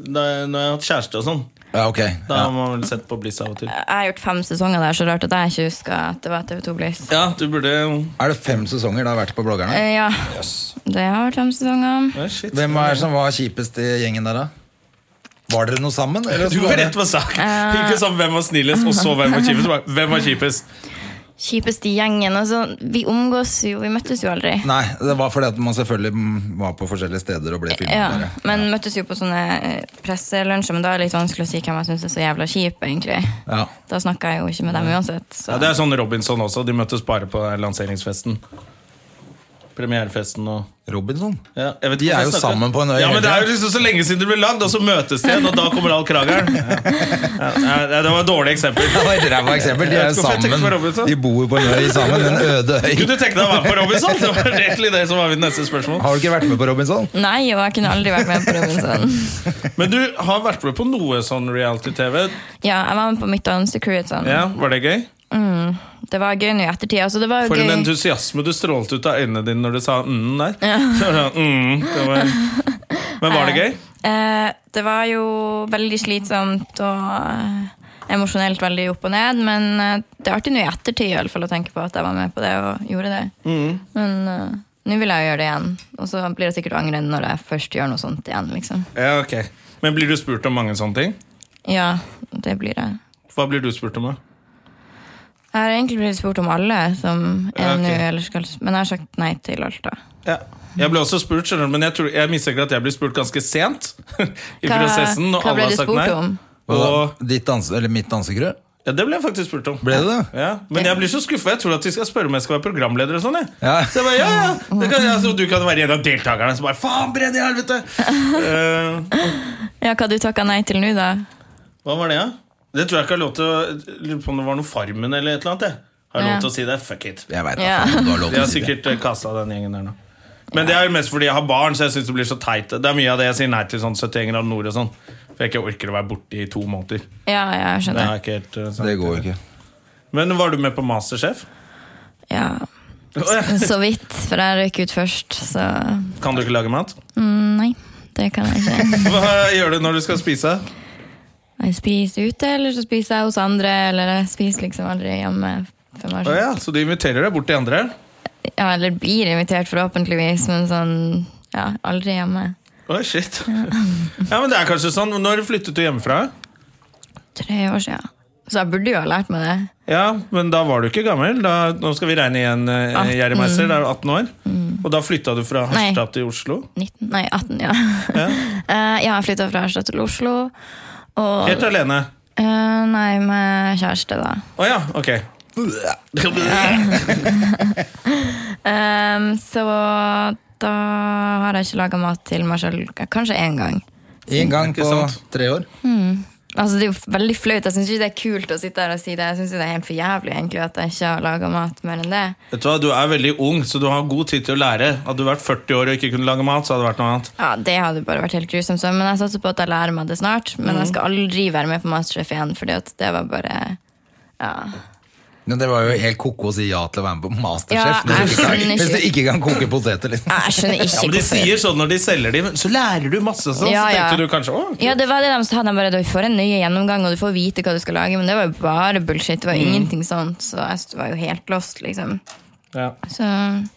[SPEAKER 1] da når jeg har hatt kjæreste og sånn.
[SPEAKER 2] Ja, ok.
[SPEAKER 1] Da har
[SPEAKER 2] Ja.
[SPEAKER 1] man vel sett på Bliss av og til.
[SPEAKER 3] Jeg har gjort fem sesonger der, så rart at jeg ikke husker at det var TV2 Bliss.
[SPEAKER 1] Ja, du burde
[SPEAKER 2] Er det fem sesonger det har vært på bloggerne?
[SPEAKER 3] Eh, ja, det har vært fem sesonger.
[SPEAKER 1] Å, shit.
[SPEAKER 2] Hvem er det som var kjipest i gjengen der, da? Var dere noe sammen? Eller
[SPEAKER 1] Du
[SPEAKER 2] så
[SPEAKER 1] var
[SPEAKER 2] var det-
[SPEAKER 1] rett på sak. Ikke sånn hvem var snillest, og så hvem var kjipest. Bare, Hvem var kjipest?
[SPEAKER 3] Kjipest i gjengen. Altså, vi omgås jo, vi møttes jo aldri.
[SPEAKER 2] Nei, det var fordi at man selvfølgelig mm, var på forskjellige steder og ble filmet.
[SPEAKER 3] Ja,
[SPEAKER 2] bare.
[SPEAKER 3] men møttes jo på sånne eh, presselunsjer, men da er det litt vanskelig å si hvem jeg syns er så jævla kjip, egentlig.
[SPEAKER 2] Ja.
[SPEAKER 3] Da snakker jeg jo ikke med dem uansett. Så.
[SPEAKER 1] Ja, det er sånn Robinson også. De møttes bare på den lanseringsfesten. Premierefesten og
[SPEAKER 2] Robinson.
[SPEAKER 1] ja, jeg vet
[SPEAKER 2] De
[SPEAKER 1] ikke
[SPEAKER 2] er
[SPEAKER 1] hvorfor jeg
[SPEAKER 2] jo
[SPEAKER 1] snakker.
[SPEAKER 2] sammen på en øy
[SPEAKER 1] Ja, men
[SPEAKER 2] hele
[SPEAKER 1] Det er jo
[SPEAKER 2] tiden.
[SPEAKER 1] liksom så lenge siden de ble lagd, og så møtes de igjen, og da kommer all krangelen. Ja. Ja, det var et dårlig eksempel.
[SPEAKER 2] Ja, det var et ræva eksempel. De
[SPEAKER 1] Jeg
[SPEAKER 2] er jo
[SPEAKER 1] vet ikke hvorfor jeg tenker på Robinson.
[SPEAKER 2] sammen. De bor på en øy sammen, en øde øy.
[SPEAKER 1] Kunne du tenke deg å være på Robinson? Det var egentlig det som var mitt neste spørsmål.
[SPEAKER 2] Har du ikke vært med på Robinson?
[SPEAKER 3] Nei, og jeg kunne aldri vært med på Robinson.
[SPEAKER 1] Men du har vært med på noe sånn reality-TV.
[SPEAKER 3] Ja, jeg var med på Mitt Anse Crew. Sånn.
[SPEAKER 1] Ja, Var det gøy?
[SPEAKER 3] Det var gøy nå i ettertid. Altså, det var jo
[SPEAKER 1] For en
[SPEAKER 3] gøy.
[SPEAKER 1] entusiasme du strålte ut av øynene dine når du sa mm der. Så var det sånn, mm, det var... Men var det gøy?
[SPEAKER 3] Eh, det var jo veldig slitsomt og eh, emosjonelt veldig opp og ned, men eh, det er artig nå i ettertid i alle fall, å tenke på at jeg var med på det og gjorde det.
[SPEAKER 1] Mm.
[SPEAKER 3] Men eh, nå vil jeg jo gjøre det igjen, og så blir jeg sikkert å angre når jeg først gjør noe sånt igjen. liksom.
[SPEAKER 1] Ja, ok Men blir du spurt om mange sånne ting?
[SPEAKER 3] Ja, det blir det.
[SPEAKER 1] Hva blir du spurt om? da?
[SPEAKER 3] Jeg har egentlig blitt spurt om alle som
[SPEAKER 1] Ja,
[SPEAKER 3] er
[SPEAKER 1] ok.
[SPEAKER 3] nå, eller skal, men jeg har sagt nei til alt, da.
[SPEAKER 1] Ja. Jeg ble også spurt, skjønner du, men jeg, tror, jeg mistenker at jeg ble spurt ganske sent. i
[SPEAKER 3] Hva-
[SPEAKER 1] prosessen og
[SPEAKER 3] hva
[SPEAKER 1] alle
[SPEAKER 3] ble
[SPEAKER 1] har
[SPEAKER 3] du
[SPEAKER 1] sagt
[SPEAKER 3] spurt
[SPEAKER 1] nei.
[SPEAKER 3] om?
[SPEAKER 2] Hva
[SPEAKER 1] Og,
[SPEAKER 2] da? Ditt danse, eller mitt dansekrø?
[SPEAKER 1] ja, det ble jeg faktisk spurt om.
[SPEAKER 2] Ble det det?
[SPEAKER 1] Ja, men jeg blir så skuffa. Jeg tror at de skal spørre om jeg skal være programleder. og sånn jeg.
[SPEAKER 2] Ja.
[SPEAKER 1] Så jeg bare, ja, ja, det kan, altså, Du kan være en av deltakerne. Så bare, faen, brenn i helvete Eh,
[SPEAKER 3] Ja, Hva du takka nei til nå, da?
[SPEAKER 1] Hva var det, da? Det tror jeg ikke jeg har lov til å Lurer på om det var noe Farmen eller et eller annet. Jeg. Har jeg
[SPEAKER 3] Ja.
[SPEAKER 1] lov til å si det? Fuck it.
[SPEAKER 2] Jeg veit
[SPEAKER 3] Ja.
[SPEAKER 2] ikke. Du har lov
[SPEAKER 1] De
[SPEAKER 2] til å
[SPEAKER 1] har
[SPEAKER 2] si det.
[SPEAKER 1] sikkert eh, kasta den gjengen der nå. Men det er jo mest fordi jeg har barn, så jeg synes det blir så teit. Det er mye av det jeg sier nei til sånn 71 grader nord og sånn. For jeg ikke orker å være borte i to måneder.
[SPEAKER 3] Ja, ja, jeg
[SPEAKER 1] Det
[SPEAKER 3] skjønner.
[SPEAKER 1] er ikke helt eh, sant.
[SPEAKER 2] Det går jo ikke.
[SPEAKER 1] Men var du med på Masterchef?
[SPEAKER 3] Ja.
[SPEAKER 1] Åh, ja.
[SPEAKER 3] Så vidt, for jeg røyk ut først, så
[SPEAKER 1] Kan du ikke lage mat?
[SPEAKER 3] mm, nei. Det kan jeg ikke.
[SPEAKER 1] Hva gjør du når du skal spise?
[SPEAKER 3] Jeg spiser ute, eller så spiser jeg hos andre, eller jeg spiser liksom aldri hjemme. for
[SPEAKER 1] Å
[SPEAKER 3] meg selv.
[SPEAKER 1] ja, så du inviterer deg bort til andre?
[SPEAKER 3] Ja, eller blir invitert, forhåpentligvis, men sånn ja, aldri hjemme.
[SPEAKER 1] Oi, shit. Ja, men det er kanskje sånn. Når flyttet du hjemmefra?
[SPEAKER 3] Tre år siden. Så jeg burde jo ha lært meg det.
[SPEAKER 1] Ja, men da var du ikke gammel. Da, nå skal vi regne igjen, eh,
[SPEAKER 3] 18.
[SPEAKER 1] Jerry Meister. Da er du 18 år. Og da flytta du fra
[SPEAKER 3] Ah, mm. Nei.
[SPEAKER 1] Harstad til Oslo?
[SPEAKER 3] 19, nei, 18, ja. Eh, ja, jeg flytta fra Harstad til Oslo. Og
[SPEAKER 1] Helt alene?
[SPEAKER 3] eh, Nei, med kjæreste, da.
[SPEAKER 1] Å ja, ok.
[SPEAKER 3] Ehm, så da har jeg ikke laga mat til meg sjøl kanskje én gang.
[SPEAKER 2] Én gang
[SPEAKER 1] Ikke
[SPEAKER 2] på
[SPEAKER 1] sant?
[SPEAKER 2] tre år.
[SPEAKER 3] Altså Det er jo veldig flaut. Jeg syns ikke det er kult å sitte her og si det. Jeg synes jo det er helt for jævlig egentlig at jeg ikke har laga mat mer enn det.
[SPEAKER 1] Vet Du hva, du er veldig ung, så du har god tid til å lære. Hadde du vært 40 år og ikke kunne lage mat, så hadde det vært noe annet.
[SPEAKER 3] Ja, Det hadde bare vært helt grusomt. så- Men jeg satser på at jeg lærer meg det snart. Men
[SPEAKER 1] Mm.
[SPEAKER 3] jeg skal aldri være med på Masterchef igjen, Fordi at det var bare
[SPEAKER 2] Men det var jo helt ko-ko å si ja til å være med på
[SPEAKER 3] Ja,
[SPEAKER 2] Masterchef.
[SPEAKER 3] jeg
[SPEAKER 2] hvis, du ikke
[SPEAKER 3] skjønner
[SPEAKER 2] kan,
[SPEAKER 3] ikke.
[SPEAKER 2] hvis du ikke kan koke poteter, liksom.
[SPEAKER 3] Nei, Jeg skjønner ikke
[SPEAKER 1] Ja, men De sier sånn når de selger dem, så lærer du masse sånn.
[SPEAKER 3] Ja,
[SPEAKER 1] så
[SPEAKER 3] ja.
[SPEAKER 1] tenkte du kanskje å,
[SPEAKER 3] Ja, det var det de sa. De bare, du får en nøye gjennomgang, og du får vite hva du skal lage. Men det var jo bare bullshit. Det
[SPEAKER 1] Mm.
[SPEAKER 3] var ingenting sånt. Så jeg var jo helt lost, liksom.
[SPEAKER 1] ja.
[SPEAKER 3] Så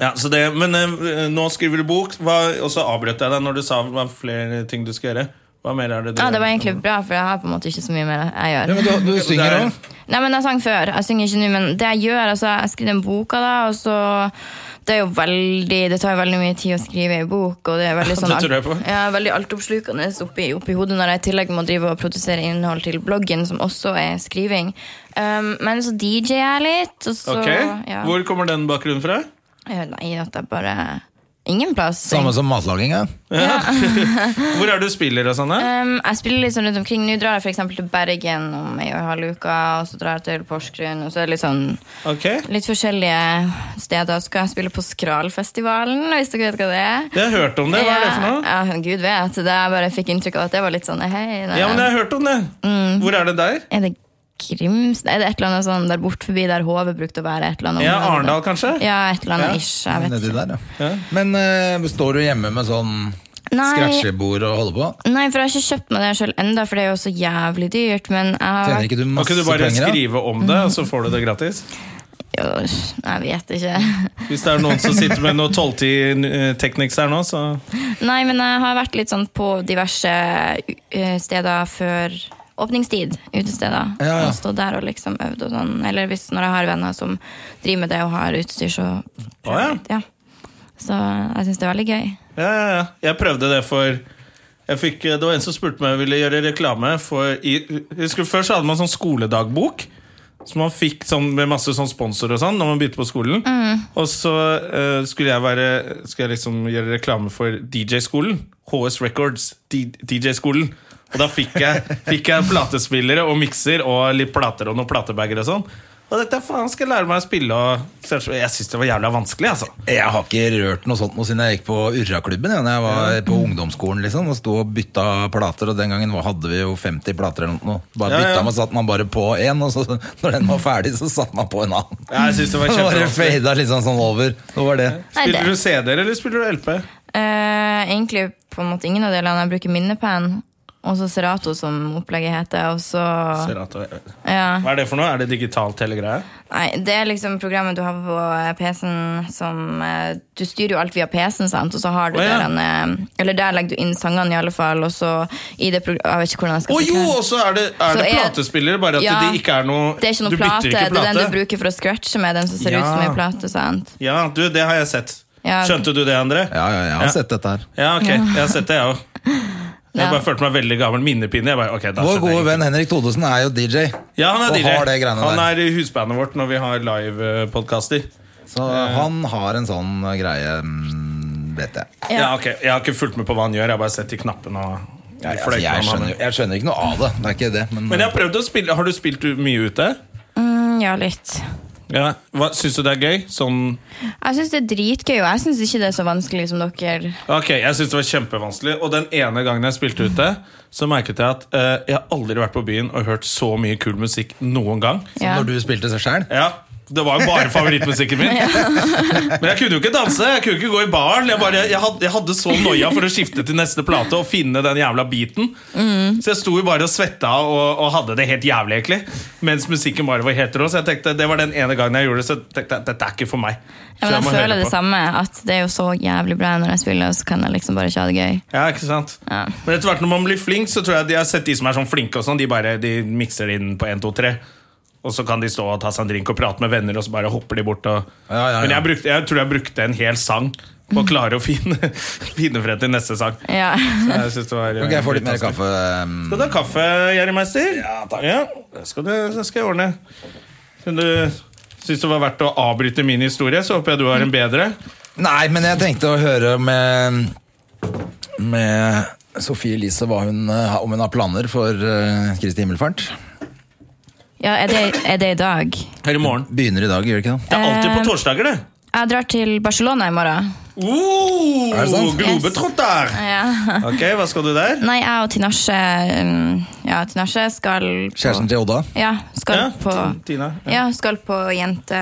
[SPEAKER 1] Ja, så det, Men eh, nå skriver du bok, hva, og så avbrøt jeg deg når du sa hva flere ting du skal gjøre. Hva mer er det du
[SPEAKER 3] ja, det var egentlig bra, for jeg har på en måte ikke så mye mer jeg gjør.
[SPEAKER 2] Ja, men du, du synger
[SPEAKER 1] Det er-
[SPEAKER 2] òg.
[SPEAKER 3] Nei, men jeg sang før. Jeg synger ikke nå, men det jeg gjør, altså, jeg skriver den boka, da, og så det, er jo veldig, det tar jo veldig mye tid å skrive ei bok, og det er veldig sånn
[SPEAKER 1] Det tror jeg på.
[SPEAKER 3] Ja, veldig altoppslukende oppi, oppi hodet når jeg i tillegg må drive og produsere innhold til bloggen, som også er skriving. Um, men så DJ-er jeg litt, og så
[SPEAKER 1] Ok,
[SPEAKER 3] ja.
[SPEAKER 1] Hvor kommer den bakgrunnen fra?
[SPEAKER 3] Eh, Nei, at jeg bare Ingen plass.
[SPEAKER 2] Samme som matlaginga.
[SPEAKER 1] Hvor er det du spiller og sånn? da?
[SPEAKER 3] Um, jeg spiller litt sånn rundt omkring. Nå drar jeg for eksempel til Bergen om ei og en halv uke. Og så drar jeg til Porsgrunn. Og så er det litt sånn
[SPEAKER 1] Ok
[SPEAKER 3] litt forskjellige steder. Så skal jeg spille på Skralfestivalen, hvis dere vet hva det er.
[SPEAKER 1] Jeg har hørt om det. Hva er det for noe?
[SPEAKER 3] Ja, ja, Gud vet. Det jeg bare fikk inntrykk av at det var litt sånn hei, nei.
[SPEAKER 1] Ja, men jeg har hørt om det.
[SPEAKER 3] Mm.
[SPEAKER 1] Hvor er det der?
[SPEAKER 3] Er det Grims? Er det et eller annet sånn der bort forbi der hovet brukte å være? et eller annet
[SPEAKER 1] Ja,
[SPEAKER 3] område?
[SPEAKER 1] Arendal, kanskje?
[SPEAKER 3] Ja, et eller
[SPEAKER 1] Ja,
[SPEAKER 3] annet ish. Jeg vet
[SPEAKER 2] Nedi
[SPEAKER 3] ikke.
[SPEAKER 2] der, ja. Men eh, står du hjemme med sånn
[SPEAKER 3] Nei.
[SPEAKER 2] scratchebord og holder på?
[SPEAKER 3] Nei, for jeg har ikke kjøpt meg det sjøl enda, for det er jo så jævlig dyrt. Men jeg har
[SPEAKER 2] Tjener
[SPEAKER 3] vært-
[SPEAKER 2] ikke du
[SPEAKER 1] Kan
[SPEAKER 2] masse
[SPEAKER 1] ikke du bare
[SPEAKER 2] penger? da?
[SPEAKER 1] skrive om det, og så får du det gratis?
[SPEAKER 3] Jo, Jeg vet ikke.
[SPEAKER 1] Hvis det er noen som sitter med noe 12-10-tekniks her nå, så
[SPEAKER 3] Nei, men jeg har vært litt sånn på diverse eh, steder før åpningstid. Utesteder.
[SPEAKER 2] Ja, ja.
[SPEAKER 3] Og stått der og liksom øvd og sånn. Eller hvis når jeg har venner som driver med det og har utstyr, så prøver
[SPEAKER 1] Å, ja.
[SPEAKER 3] jeg litt, ja. Så jeg syns det er veldig gøy.
[SPEAKER 1] Ja, ja, ja. Jeg prøvde det for jeg fikk, eh, Det var en som spurte meg om jeg ville gjøre reklame for i, husker, du, Før så hadde man sånn skoledagbok. Som man fikk sånn, med masse sånn sponsor og sånn når man begynte på skolen. Og så eh, skulle jeg være Skulle jeg liksom gjøre reklame for DJ-skolen. HS Records. DJ-skolen. Og da fikk jeg, fikk jeg platespillere og mikser og litt plater og noen platebager og sånn. Og dette faen skal jeg lære meg å spille og Jeg syns det var jævla vanskelig, altså.
[SPEAKER 2] Jeg har ikke rørt noe sånt noe siden jeg gikk på Urraklubben. Ja, når jeg var på ungdomsskolen liksom, og sto og bytta plater. Og den gangen var- hadde vi jo 50 plater eller noe. Bare
[SPEAKER 1] Ja, ja.
[SPEAKER 2] bytta man satt man bare på én, og så, når den var ferdig, så satte man på en annen.
[SPEAKER 1] Ja, jeg synes det var
[SPEAKER 2] Så bare
[SPEAKER 1] kjempevanskelig.
[SPEAKER 2] fada liksom sånn over. Det var det.
[SPEAKER 3] Nei,
[SPEAKER 1] Spiller
[SPEAKER 3] det-
[SPEAKER 1] du CD-er, eller spiller du LP?
[SPEAKER 3] Eh, egentlig på en måte ingen av delene. Jeg bruker minnepenn og så Serato, som opplegget heter. Og så ja.
[SPEAKER 1] Hva er det for noe? Er det digitalt hele greia?
[SPEAKER 3] Nei, Det er liksom programmet du har på eh, PC-en som eh, Du styrer jo alt via PC-en, sant, og så har du
[SPEAKER 1] Å, ja.
[SPEAKER 3] der en eh, Eller der legger du inn sangene, i alle fall, og så i det prog- Jeg vet ikke hvordan
[SPEAKER 1] Å
[SPEAKER 3] jeg skal
[SPEAKER 1] jo,
[SPEAKER 3] forklare.
[SPEAKER 1] og så er det, er
[SPEAKER 3] Så
[SPEAKER 1] det
[SPEAKER 3] er-
[SPEAKER 1] platespillere, bare at
[SPEAKER 3] Ja.
[SPEAKER 1] det ikke er noe
[SPEAKER 3] Det er ikke noe
[SPEAKER 1] Du bytter
[SPEAKER 3] plate.
[SPEAKER 1] ikke
[SPEAKER 3] Det er den
[SPEAKER 1] plate.
[SPEAKER 3] du bruker for å scratche med, den som ser ut som
[SPEAKER 1] Ja.
[SPEAKER 3] en plate. sant?
[SPEAKER 1] Ja, du, det har jeg sett.
[SPEAKER 3] Ja.
[SPEAKER 1] Skjønte du det, André?
[SPEAKER 2] Ja, ja, jeg har sett dette her.
[SPEAKER 1] Ja, ok, jeg har sett det, jeg òg. Jeg
[SPEAKER 3] Ja.
[SPEAKER 1] bare følte meg veldig gammel minnepinne. Jeg bare, ok, da
[SPEAKER 2] Vår
[SPEAKER 1] skjønner jeg
[SPEAKER 2] gode venn Henrik Thodesen er jo DJ.
[SPEAKER 1] ikke. Ja, han er
[SPEAKER 2] og
[SPEAKER 1] DJ.
[SPEAKER 2] har det greiene
[SPEAKER 1] han
[SPEAKER 2] der.
[SPEAKER 1] er i husbandet vårt når vi har livepodkaster.
[SPEAKER 2] Så han har en sånn greie, mm, vet jeg.
[SPEAKER 1] Ja. ok, Jeg har ikke fulgt med på hva han gjør, jeg har bare sett de knappene og de
[SPEAKER 2] Altså,
[SPEAKER 1] fløytene
[SPEAKER 2] jeg,
[SPEAKER 1] han har med.
[SPEAKER 2] skjønner, jeg skjønner ikke noe av det. Det er ikke det, men,
[SPEAKER 1] Men jeg har prøvd å spille Har du spilt mye ute?
[SPEAKER 3] Mm, ja, litt.
[SPEAKER 1] Ja. Hva- Syns du det er gøy? Sånn
[SPEAKER 3] Jeg syns det er dritgøy, og jeg syns ikke det er så vanskelig som dere
[SPEAKER 1] Ok, jeg synes det var kjempevanskelig Og den ene gangen jeg spilte ute Så merket jeg at eh, jeg har aldri vært på byen Og hørt så mye kul musikk noen gang
[SPEAKER 3] Ja.
[SPEAKER 2] eh, når du spilte seg sjæl
[SPEAKER 1] Ja, det var jo bare favorittmusikken min Men jeg kunne jo ikke danse Jeg kunne ikke gå i baren Jeg, bare, jeg, hadde, jeg hadde så noia for å skifte til neste plate Og finne den jævla biten
[SPEAKER 3] Mm.
[SPEAKER 1] Så jeg sto jo bare og svetta og, og hadde det helt jævlig egentlig Mens musikken bare var helt rå Så jeg tenkte, det var den ene gangen jeg gjorde det Så tenkte jeg, dette er ikke for meg
[SPEAKER 3] Ja,
[SPEAKER 1] Så
[SPEAKER 3] men jeg
[SPEAKER 1] må høre
[SPEAKER 3] føler det
[SPEAKER 1] på.
[SPEAKER 3] samme, at det er jo så jævlig bra når jeg spiller, og så kan jeg liksom bare ikke ha det gøy.
[SPEAKER 1] Ja, ikke sant?
[SPEAKER 3] Ja.
[SPEAKER 1] Men etter hvert når man blir flink, så tror jeg de har sett de som er sånn flinke og sånn, de bare de mikser det inn på 1, 2, 3. Og så kan de stå og ta seg en drink og prate med venner, og så bare hopper de bort og
[SPEAKER 2] Ja, ja, ja.
[SPEAKER 1] Men jeg, brukte, jeg tror jeg brukte en hel sang på å klare å finne, finne frem til neste sang.
[SPEAKER 3] Ja.
[SPEAKER 1] Så Jeg synes det var eh, sånn.
[SPEAKER 2] Ok, jeg får litt mer kaffe. eh,
[SPEAKER 1] Skal du ha kaffe, Jerry Meister? Ja, takk. det, skal du, det skal jeg ordne. Men du syns det var verdt å avbryte min historie, så håper jeg du har en bedre.
[SPEAKER 2] Nei, men jeg tenkte å høre med Med Sofie Elise hva hun, eh, om hun har planer for eh, Kristi himmelfart.
[SPEAKER 3] ja, er det, er det i dag?
[SPEAKER 1] Her i morgen.
[SPEAKER 2] Begynner i dag, gjør det ikke det?
[SPEAKER 1] Det er alltid på torsdager, det.
[SPEAKER 3] Jeg drar til Barcelona i morgen.
[SPEAKER 1] Oh,
[SPEAKER 2] Er det sant?
[SPEAKER 1] Globetrotter!
[SPEAKER 3] Ja.
[SPEAKER 1] Ok, hva skal du der?
[SPEAKER 3] Nei, jeg og Tinashe mm, Ja, Tinashe skal på-
[SPEAKER 2] Kjæresten til Odda.
[SPEAKER 3] Ja, skal
[SPEAKER 1] Ja,
[SPEAKER 3] på
[SPEAKER 1] Tina. Å
[SPEAKER 3] Ja, skal på jente,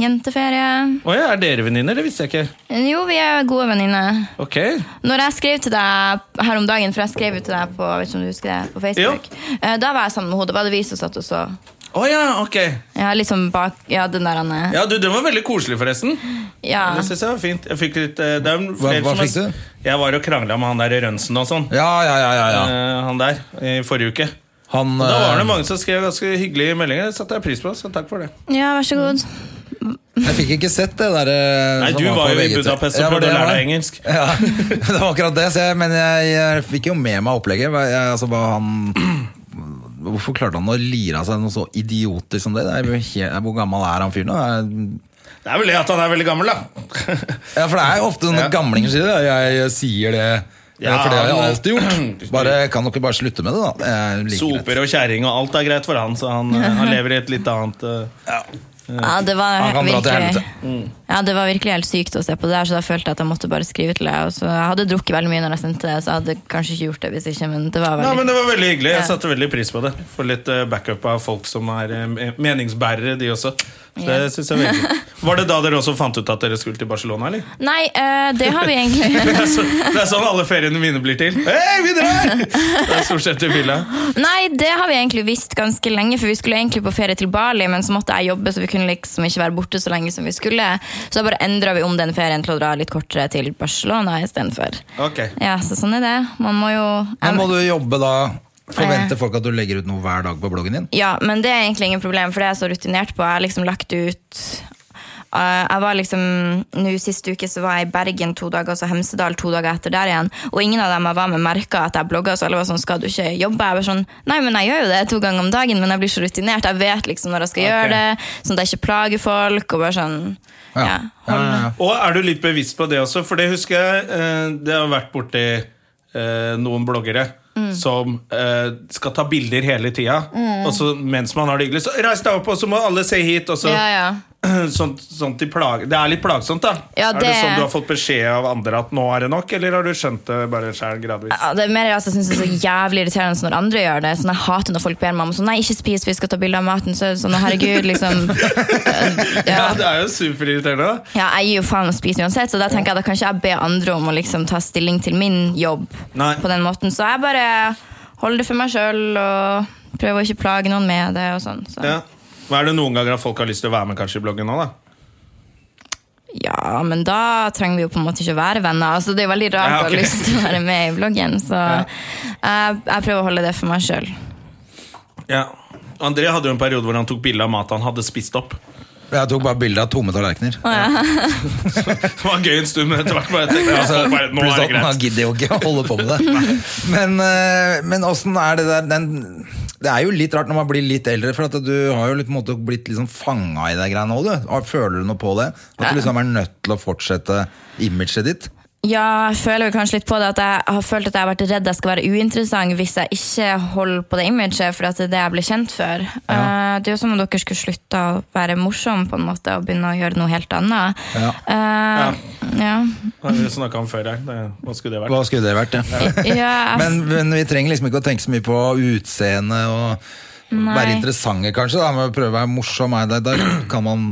[SPEAKER 3] jenteferie.
[SPEAKER 1] ja, er dere venninner? Det visste jeg ikke.
[SPEAKER 3] Jo, vi er gode venninner.
[SPEAKER 1] Ok,
[SPEAKER 3] Når jeg skrev til deg her om dagen, for jeg skrev jo til deg på, jeg vet ikke om du husker det, på Facebook, eh, da var jeg sammen med henne. Da var det vi som satt og så.
[SPEAKER 1] Å ja, ok.
[SPEAKER 3] Ja, liksom bak Ja, den der han er-
[SPEAKER 1] Ja, du, Den var veldig koselig, forresten.
[SPEAKER 3] Ja.
[SPEAKER 1] Det synes jeg var fint. Jeg fikk litt, eh, det er jo flere
[SPEAKER 2] hva
[SPEAKER 1] som har-
[SPEAKER 2] fikk du?
[SPEAKER 1] Jeg var og krangla med han der i Rønsen og sånn.
[SPEAKER 2] Ja, ja, ja. ja, ja.
[SPEAKER 1] Eh, han der, i forrige uke.
[SPEAKER 2] Han,
[SPEAKER 1] Da var det
[SPEAKER 2] eh,
[SPEAKER 1] mange som skrev ganske hyggelige meldinger. Det satte jeg pris på, så takk for det.
[SPEAKER 3] ja, vær så god.
[SPEAKER 2] jeg fikk ikke sett det der eh,
[SPEAKER 1] Nei,
[SPEAKER 2] som
[SPEAKER 1] Du
[SPEAKER 2] på
[SPEAKER 1] var jo i
[SPEAKER 2] VGTV.
[SPEAKER 1] Budapest
[SPEAKER 2] Ja,
[SPEAKER 1] og
[SPEAKER 2] var
[SPEAKER 1] prøvde
[SPEAKER 2] det jeg
[SPEAKER 1] å lære
[SPEAKER 2] var?
[SPEAKER 1] deg engelsk.
[SPEAKER 2] Ja, det var akkurat det. Så jeg, men jeg, jeg fikk jo med meg opplegget. Hva- Jeg, altså, hva han, hvorfor klarte han å lire av seg noe så idiotisk som det? det er jo helt, hvor gammel er han fyren? nå? Det er
[SPEAKER 1] Det er vel det at han er veldig gammel, da.
[SPEAKER 2] Ja, for det er jo ofte sånne
[SPEAKER 1] Ja.
[SPEAKER 2] gamlinger sier det. Jeg sier det.
[SPEAKER 1] Ja,
[SPEAKER 2] for det har jeg
[SPEAKER 1] men-
[SPEAKER 2] alltid gjort. Bare, kan dere bare slutte med det, da? Jeg liker det.
[SPEAKER 1] Soper og kjerring og alt er greit for han, så han, eh, han lever i et litt annet eh,
[SPEAKER 3] Ja, det var
[SPEAKER 2] Han kan dra til
[SPEAKER 3] virkelig, Mm.
[SPEAKER 2] helvete.
[SPEAKER 3] ja, det var virkelig helt sykt å se på det der, så da følte jeg at jeg måtte bare skrive til deg. Og så jeg hadde drukket veldig mye når jeg sendte det, så jeg hadde kanskje ikke gjort det hvis ikke, men det var
[SPEAKER 1] Nei, men
[SPEAKER 3] veldig
[SPEAKER 1] Det var veldig hyggelig. Jeg
[SPEAKER 3] Ja.
[SPEAKER 1] satte veldig pris på det. Får litt eh, backup av folk som er eh, meningsbærere, de også. Så det
[SPEAKER 3] Ja.
[SPEAKER 1] synes jeg var hyggelig. Var det da dere også fant ut at dere skulle til Barcelona, eller?
[SPEAKER 3] Nei, eh, det har vi egentlig
[SPEAKER 1] Det er, så, det er sånn alle feriene mine blir til. Hei, vi drar! Det er stort sett i fylla.
[SPEAKER 3] Nei, det har vi egentlig visst ganske lenge, for vi skulle egentlig på ferie til Bali, men så måtte jeg jobbe, så vi kunne liksom ikke være borte så lenge som vi skulle. Så da bare endra vi om den ferien til å dra litt kortere til Barcelona istedenfor.
[SPEAKER 1] Ok.
[SPEAKER 3] Ja, så sånn er det. Man må jo
[SPEAKER 2] Men må du jobbe da?
[SPEAKER 3] Eh.
[SPEAKER 2] Forventer folk at du legger ut noe hver dag på bloggen din?
[SPEAKER 3] Ja, men det er egentlig ingen problem, for det er jeg så rutinert på. Jeg har liksom lagt ut eh, jeg var liksom, nå Sist uke så var jeg i Bergen to dager, og så Hemsedal to dager etter der igjen. Og ingen av dem jeg var med, merka at jeg blogga. Så alle var sånn 'Skal du ikke jobbe?' Jeg var sånn Nei, men jeg gjør jo det to ganger om dagen, men jeg blir så rutinert. Jeg vet liksom når jeg skal gjøre
[SPEAKER 1] Ok.
[SPEAKER 3] det, sånn at jeg ikke plager folk. Og bare sånn Ja.
[SPEAKER 2] Ja, ja, ja.
[SPEAKER 1] Og er du litt bevisst på det også? For det husker jeg eh, Det har vært borti eh, noen bloggere
[SPEAKER 3] Mm.
[SPEAKER 1] som eh, skal ta bilder hele tida. Og så mens man har det hyggelig, så reis deg opp, og så må alle se hit. Og så,
[SPEAKER 3] ja, ja.
[SPEAKER 1] sånn, sånn til plag... Det er litt plagsomt, da.
[SPEAKER 3] Ja,
[SPEAKER 1] Er det
[SPEAKER 3] det-
[SPEAKER 1] sånn du har fått beskjed av andre at nå er det nok, eller har du skjønt det bare sjøl gradvis?
[SPEAKER 3] Ja, det er mer altså, jeg synes det er så jævlig irriterende når andre gjør det. Sånn, jeg hater når folk ber meg om sånn, nei, ikke spis, vi skal ta bilde av maten. Så, er det sånn, herregud, liksom.
[SPEAKER 1] Ja,
[SPEAKER 3] Ja.
[SPEAKER 1] det er jo superirriterende. da.
[SPEAKER 3] Ja, jeg gir jo faen å spise uansett, så da tenker jeg da kanskje jeg ber andre om å liksom ta stilling til min jobb
[SPEAKER 1] Nei.
[SPEAKER 3] på den måten. Så jeg bare holder det for meg sjøl og prøver å ikke plage noen med det og sånn. Så.
[SPEAKER 1] Ja. Hva er det noen ganger at folk har lyst til å være med kanskje i bloggen nå, da?
[SPEAKER 3] Ja, men da trenger vi jo på en måte ikke å være venner. Altså, det er jo veldig rart
[SPEAKER 1] Ja, ok.
[SPEAKER 3] å ha lyst til å være med i bloggen, så jeg, jeg prøver å holde det for meg sjøl.
[SPEAKER 1] Ja. André hadde jo en periode hvor han tok bilde av mat han hadde spist opp.
[SPEAKER 2] Jeg tok bare bilde av tomme tallerkener.
[SPEAKER 1] Det var gøy en stund, men etter hvert bare tenkte jeg,
[SPEAKER 2] Altså,
[SPEAKER 1] folk bare, nå
[SPEAKER 2] pluss
[SPEAKER 1] er det
[SPEAKER 2] at
[SPEAKER 1] greit.
[SPEAKER 2] Man gidder jo ikke å holde på med det. Men, eh, men åssen er det der den, Det er jo litt rart når man blir litt eldre, for at du har jo litt, på en måte blitt liksom fanga i de greiene òg, du. Har- Føler du noe på det? At du liksom er nødt til å fortsette imaget ditt?
[SPEAKER 3] Ja, jeg føler jo kanskje litt på det at jeg har følt at jeg har vært redd jeg skal være uinteressant hvis jeg ikke holder på det imaget, for at det er det jeg ble kjent for. Eh, det er jo som om dere skulle slutte å være morsom på en måte og begynne å gjøre noe helt annet.
[SPEAKER 2] Ja.
[SPEAKER 3] Eh, ja.
[SPEAKER 1] Det har vi snakket om før her. Det- Hva skulle det vært?
[SPEAKER 2] Hva skulle det vært? Ja.
[SPEAKER 3] ja. jeg-
[SPEAKER 2] Men, men vi trenger liksom ikke å tenke så mye på utseende og være
[SPEAKER 3] Nei.
[SPEAKER 2] interessante, kanskje. Da, men prøve å være morsom. er det- Da kan man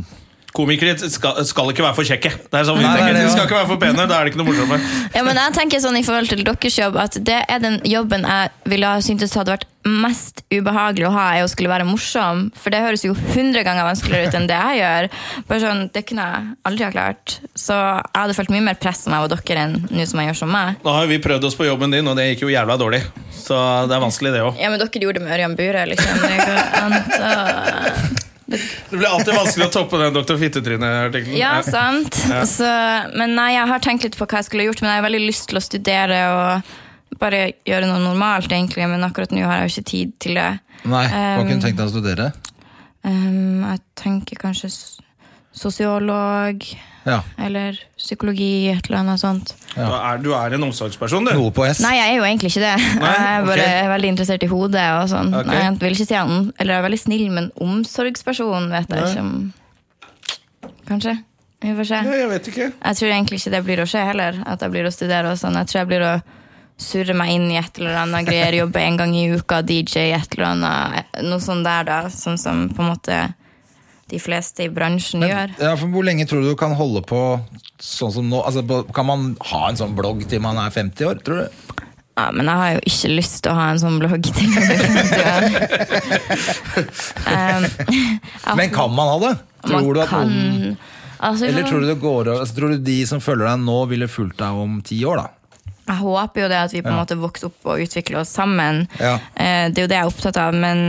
[SPEAKER 1] Komikere skal, skal ikke være for kjekke. Det er sånn vi
[SPEAKER 2] Nei, det
[SPEAKER 1] tenker.
[SPEAKER 2] er det,
[SPEAKER 1] De
[SPEAKER 2] ja.
[SPEAKER 1] skal ikke være for pene, da er det ikke noe morsomme.
[SPEAKER 3] Ja, men jeg tenker sånn i forhold til deres jobb At det er den jobben jeg ville ha syntes hadde vært mest ubehagelig å ha Er å skulle være morsom For det høres jo hundre ganger vanskeligere ut enn det jeg gjør Bare sånn, det kunne jeg aldri ha klart Så jeg hadde følt mye mer press om jeg var dere enn nå som jeg gjør som meg
[SPEAKER 1] Nå har jo vi prøvd oss på jobben din, og det gikk jo jævla dårlig. Så det er vanskelig, det òg.
[SPEAKER 3] Ja, men dere gjorde det med Ørjan Bure liksom Det går an, så-
[SPEAKER 1] Det blir alltid vanskelig å toppe den Dr. Fittetryne-artikkelen.
[SPEAKER 3] Ja, altså. sant så, Men nei, jeg har tenkt litt på hva jeg skulle ha gjort Men jeg har veldig lyst til å studere Og bare gjøre noe normalt egentlig Men akkurat nå har jeg jo ikke tid til det
[SPEAKER 2] Nei, hva
[SPEAKER 3] Um,
[SPEAKER 2] kunne du tenkt deg å studere?
[SPEAKER 3] Ehm, jeg tenker kanskje s- sosiolog
[SPEAKER 2] Ja,
[SPEAKER 3] eller psykologi, et eller annet sånt.
[SPEAKER 1] Du er, du er en omsorgsperson, du.
[SPEAKER 2] Noe på S.
[SPEAKER 3] Nei, jeg er jo egentlig ikke det. jeg er
[SPEAKER 1] ok.
[SPEAKER 3] bare veldig interessert i hodet. og sånn.
[SPEAKER 1] Ok.
[SPEAKER 3] Nei, jeg vil ikke si han, eller jeg er veldig snill, men omsorgsperson vet jeg ikke om Kanskje. Vi får se.
[SPEAKER 1] Nei, jeg vet ikke.
[SPEAKER 3] Jeg tror egentlig ikke det blir å skje heller. At jeg blir å studere og sånn. Jeg tror jeg blir å surre meg inn i et eller annet greier, jobbe en gang i uka, DJ et eller annet. Noe sånn der, da. Sånn som på en måte de fleste i bransjen gjør.
[SPEAKER 2] Ja, for Hvor lenge tror du du kan holde på sånn som nå? Altså, på- kan man ha en sånn blogg til man er 50 år, tror du?
[SPEAKER 3] Ja, men jeg har jo ikke lyst til å ha en sånn blogg til. Um,
[SPEAKER 2] Men kan man ha det? Tror
[SPEAKER 3] man
[SPEAKER 2] du at
[SPEAKER 3] kan-
[SPEAKER 2] noen,
[SPEAKER 3] altså,
[SPEAKER 2] eller tror du, det går, altså, tror du de som følger deg nå, ville fulgt deg om ti år, da?
[SPEAKER 3] jeg håper jo det at vi på en måte vokser opp og utvikler oss sammen.
[SPEAKER 2] Ja.
[SPEAKER 3] Eh, Det er jo det jeg er opptatt av, men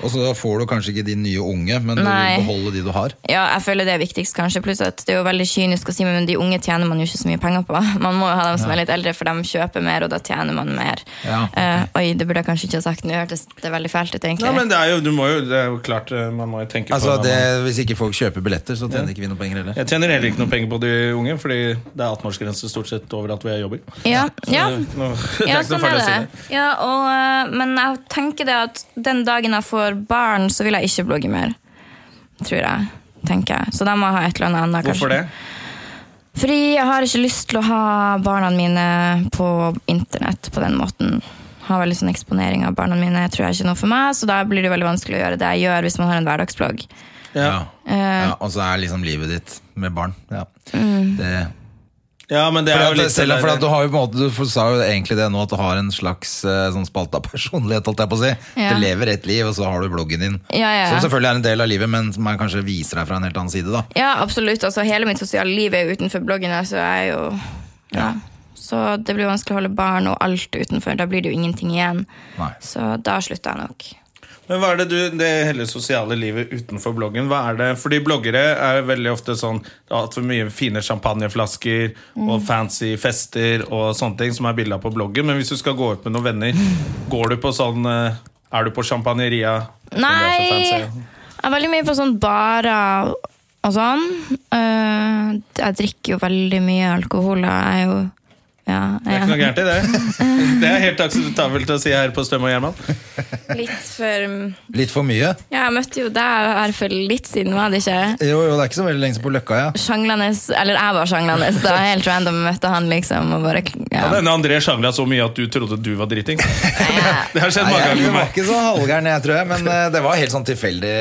[SPEAKER 2] Og så får du kanskje ikke de nye unge, men du
[SPEAKER 3] Nei.
[SPEAKER 2] vil beholde de du har.
[SPEAKER 3] ja, jeg føler det er viktigst, kanskje. Pluss at det er jo veldig kynisk å si, men de unge tjener man jo ikke så mye penger på. Man må jo ha dem som er litt eldre, for de kjøper mer, og da tjener man mer.
[SPEAKER 2] Ja, ok.
[SPEAKER 3] Eh, oi, det burde jeg kanskje ikke ha sagt. Det hørtes det er veldig fælt ut, egentlig.
[SPEAKER 1] Nei, men det er jo, du må jo, det er jo klart eh, Man må jo tenke
[SPEAKER 2] Altså
[SPEAKER 1] på
[SPEAKER 2] det,
[SPEAKER 1] man-
[SPEAKER 2] Hvis ikke folk kjøper billetter, så tjener ikke vi noen penger heller.
[SPEAKER 1] Jeg tjener heller ikke noe penger på de unge, fordi det er 18-årsgrense stort sett overalt hvor jeg jobber.
[SPEAKER 3] ja, ja.
[SPEAKER 1] Så nå- det
[SPEAKER 3] Ja,
[SPEAKER 1] ikke noe
[SPEAKER 3] sånn
[SPEAKER 1] farlig å
[SPEAKER 3] er
[SPEAKER 1] si
[SPEAKER 3] det. Ja, og, eh, men jeg tenker det at den dagen jeg får barn, så vil jeg ikke blogge mer. Tror jeg. tenker jeg. Så da må jeg ha et eller annet annet.
[SPEAKER 1] Hvorfor det?
[SPEAKER 3] kanskje. Fordi jeg har ikke lyst til å ha barna mine på internett på den måten. Ha veldig sånn eksponering av barna mine tror jeg ikke er noe for meg, så da blir det veldig vanskelig å gjøre det jeg gjør hvis man har en hverdagsblogg. Eh,
[SPEAKER 1] Ja.
[SPEAKER 2] Ja. ja, Og så er liksom livet ditt med barn. Ja.
[SPEAKER 3] Mm.
[SPEAKER 2] Det,
[SPEAKER 1] ja, men det
[SPEAKER 2] for
[SPEAKER 1] er jo
[SPEAKER 2] at,
[SPEAKER 1] litt
[SPEAKER 2] selv om
[SPEAKER 1] det
[SPEAKER 2] for
[SPEAKER 1] der-
[SPEAKER 2] at du har jo på en måte Du sa jo egentlig det nå, at du har en slags eh, sånn spalta personlighet, holdt jeg på å si.
[SPEAKER 3] Ja.
[SPEAKER 2] Du lever et liv, og så har du bloggen din.
[SPEAKER 3] Ja, ja, ja.
[SPEAKER 2] Som selvfølgelig er en del av livet, men som man kanskje viser deg fra en helt annen side. da
[SPEAKER 3] Ja, absolutt. Altså, hele mitt sosiale liv er jo utenfor bloggen. her, Så jeg er jo ja. Så det blir vanskelig å holde barn og alt utenfor. Da blir det jo ingenting igjen.
[SPEAKER 2] Nei.
[SPEAKER 3] Så da slutta jeg nok.
[SPEAKER 1] Men hva er det du, det hele sosiale livet utenfor bloggen, hva er det? Fordi bloggere er veldig ofte sånn, det har hatt for mye fine champagneflasker
[SPEAKER 2] Mm.
[SPEAKER 1] og fancy fester og sånne ting som er bilder på bloggen, men hvis du skal gå ut med noen venner, går du på sånn, eh, er du på champagneria? som det er så
[SPEAKER 3] Nei!
[SPEAKER 1] fancy?
[SPEAKER 3] Jeg er veldig mye på sånn barer og sånn. Eh, jeg drikker jo veldig mye alkohol. Jeg er jo ja,
[SPEAKER 1] Det er ikke noe
[SPEAKER 3] jeg
[SPEAKER 1] gærent i det. Det er helt akseptabelt å si her på Støm og Gjerman.
[SPEAKER 3] er litt for
[SPEAKER 2] Litt for mye?
[SPEAKER 3] Ja, jeg møtte jo deg her for litt siden, var det ikke?
[SPEAKER 2] Jo, jo, det er ikke så veldig lenge siden på Løkka, ja.
[SPEAKER 3] Sjanglende Eller jeg var sjanglende, så det var helt random. Jeg møtte han liksom og bare ja.
[SPEAKER 1] Denne André sjangla så mye at du trodde du var driting. Det har skjedd
[SPEAKER 2] Nei, jeg,
[SPEAKER 1] mange
[SPEAKER 2] det
[SPEAKER 1] ganger med
[SPEAKER 2] var
[SPEAKER 1] meg.
[SPEAKER 2] ikke så halvgæren, jeg tror jeg. Men eh, det var helt sånn tilfeldig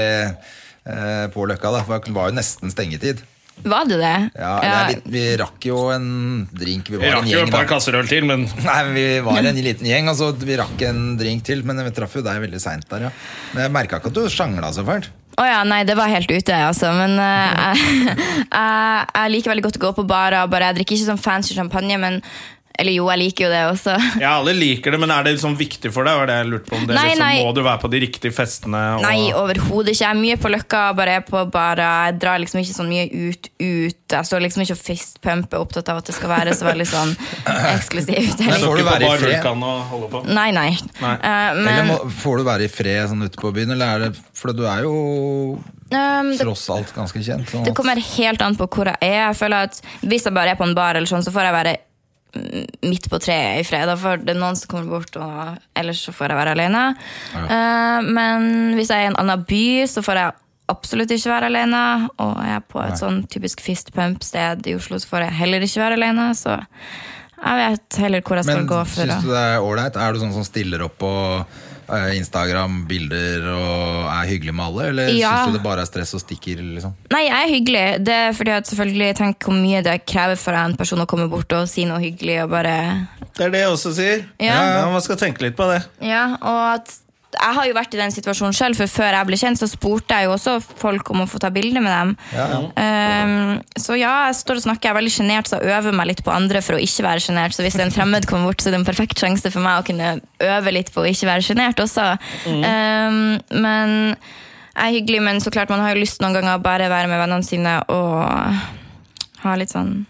[SPEAKER 2] eh, på Løkka. da for Det var jo nesten stengetid.
[SPEAKER 3] Var det det?
[SPEAKER 2] Ja, det er litt, Vi rakk jo en drink. Vi
[SPEAKER 1] Jeg
[SPEAKER 2] var
[SPEAKER 1] rakk
[SPEAKER 2] en
[SPEAKER 1] jo
[SPEAKER 2] gjeng,
[SPEAKER 1] et par
[SPEAKER 2] da.
[SPEAKER 1] kasserøl til, men
[SPEAKER 2] Nei, men Vi var en liten gjeng, altså vi rakk en drink til. Men vi traff jo deg veldig seint der, ja. Men jeg merka ikke at du sjangla så fælt.
[SPEAKER 3] Å ja, nei, det var helt ute, altså. Men eh, jeg, jeg, jeg liker veldig godt å gå på barer. og Bare, jeg drikker ikke sånn fancy champagne, men Eller jo, jeg liker jo det også.
[SPEAKER 1] Ja, alle liker det, men er det liksom viktig for deg? Var det jeg lurte på om det
[SPEAKER 3] Nei,
[SPEAKER 1] liksom,
[SPEAKER 3] nei.
[SPEAKER 1] Må du være på de riktige festene? Og...
[SPEAKER 3] Nei, overhodet ikke. Jeg er mye på løkka, bare er på barer. Jeg drar liksom ikke sånn mye ut, ut. Jeg står liksom ikke og fistpumper, opptatt av at det skal være så veldig sånn eksklusivt.
[SPEAKER 2] Men
[SPEAKER 1] Så
[SPEAKER 2] får du
[SPEAKER 1] ikke på
[SPEAKER 2] være i
[SPEAKER 1] bar
[SPEAKER 2] fred?
[SPEAKER 1] du kan og holde på.
[SPEAKER 3] Nei, nei.
[SPEAKER 1] Nei.
[SPEAKER 3] Eh,
[SPEAKER 2] Eller
[SPEAKER 3] men
[SPEAKER 2] må, får du være i fred sånn ute på byen, eller er det For du er jo
[SPEAKER 3] ehm, det
[SPEAKER 2] tross alt ganske kjent. Så.
[SPEAKER 3] Det kommer helt an på hvor jeg er. Jeg føler at Hvis jeg bare er på en bar, eller sånn, så får jeg være mm, midt på treet i fredag. For det er noen som kommer bort, og ellers så får jeg være alene. Eh, men hvis jeg er i en annen by, så får jeg absolutt ikke være alene. Og er jeg på et sånn typisk fistpump-sted i Oslo, så får jeg heller ikke være alene. Så jeg vet heller hvor jeg skal
[SPEAKER 2] Men
[SPEAKER 3] gå for
[SPEAKER 2] syns
[SPEAKER 3] å
[SPEAKER 2] du det er ålreit? Er du sånn som stiller opp på eh, Instagram, bilder og er hyggelig med alle? Eller
[SPEAKER 3] Ja.
[SPEAKER 2] syns du det bare er stress og stikker? liksom?
[SPEAKER 3] Nei, jeg er hyggelig. Det er fordi at selvfølgelig Tenk hvor mye det krever for en person å komme bort og si noe hyggelig og bare
[SPEAKER 1] Det er det jeg også sier.
[SPEAKER 3] Ja.
[SPEAKER 1] Man skal tenke litt på det.
[SPEAKER 3] Ja, og at jeg har jo vært i den situasjonen selv, for før jeg ble kjent, så spurte jeg jo også folk om å få ta bilde med dem. Ehm, så ja, jeg står og snakker, jeg er veldig sjenert, så jeg øver meg litt på andre for å ikke være sjenert. Så hvis en fremmed kommer bort, så er det en perfekt sjanse for meg å kunne øve litt på å ikke være sjenert også. Ehm, men jeg er hyggelig, men så klart man har jo lyst noen ganger å bare være med vennene sine og ha litt sånn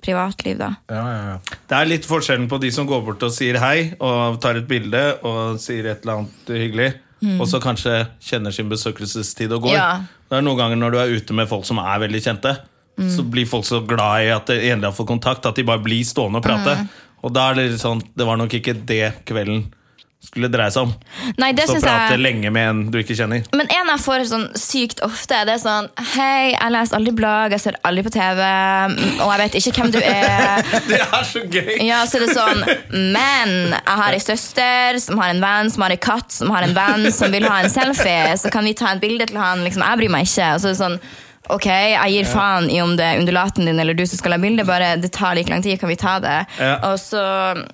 [SPEAKER 3] privatliv, da.
[SPEAKER 2] Ja, ja, ja.
[SPEAKER 1] Det er litt forskjellen på de som går bort og sier hei, og tar et bilde og sier et eller annet hyggelig, og så kanskje kjenner sin besøkelsestid og går.
[SPEAKER 3] Mm. Ja.
[SPEAKER 1] Det er noen ganger når du er ute med folk som er veldig kjente,
[SPEAKER 3] Mm.
[SPEAKER 1] så blir folk så glad i at de endelig har fått kontakt, at de bare blir stående og prate.
[SPEAKER 3] Mm.
[SPEAKER 1] Og da er det litt sånn Det var nok ikke det kvelden skulle dreie seg om.
[SPEAKER 3] Nei, det
[SPEAKER 1] så
[SPEAKER 3] synes
[SPEAKER 1] prate
[SPEAKER 3] jeg...
[SPEAKER 1] lenge med en du ikke kjenner.
[SPEAKER 3] Men en jeg får sånn sykt ofte, det er sånn Hei, jeg leser aldri blogg, jeg ser aldri på TV, og jeg vet ikke hvem du er.
[SPEAKER 1] Det er så gøy!
[SPEAKER 3] Ja, så er det sånn Men jeg har ei søster som har en venn som har ei katt som har en venn som vil ha en selfie, så kan vi ta et bilde til han? Liksom, jeg bryr meg ikke. Og så er det sånn Ok, jeg gir faen i om det er undulaten din eller du som skal ha bilde, bare det tar like lang tid, kan vi ta det?
[SPEAKER 1] Ja.
[SPEAKER 3] Og så,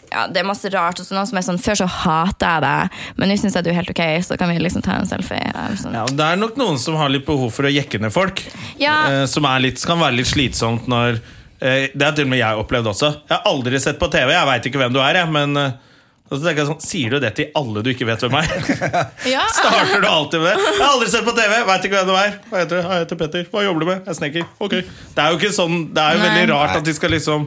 [SPEAKER 3] ja, Det er masse rart. og så noen som er sånn, Før så hater jeg deg, men nå syns jeg du er helt ok, så kan vi liksom ta en selfie. Ja, sånn.
[SPEAKER 1] Ja, det er nok noen som har litt behov for å jekke ned folk.
[SPEAKER 3] Ja.
[SPEAKER 1] Eh, som er litt, kan være litt slitsomt når eh, Det har til og med jeg opplevd også. Jeg har aldri sett på TV, jeg veit ikke hvem du er, jeg, men eh, og så tenker jeg sånn, Sier du det til alle du ikke vet hvem er?
[SPEAKER 3] Ja.
[SPEAKER 1] Starter du alltid med det? Jeg har aldri sett på TV, veit ikke hvem du er. Hva heter du? «Ja, Jeg heter Petter. Hva jobber du med? Jeg er snekker. Ok. Det er jo ikke sånn, det er jo
[SPEAKER 3] Nei.
[SPEAKER 1] veldig rart at de skal liksom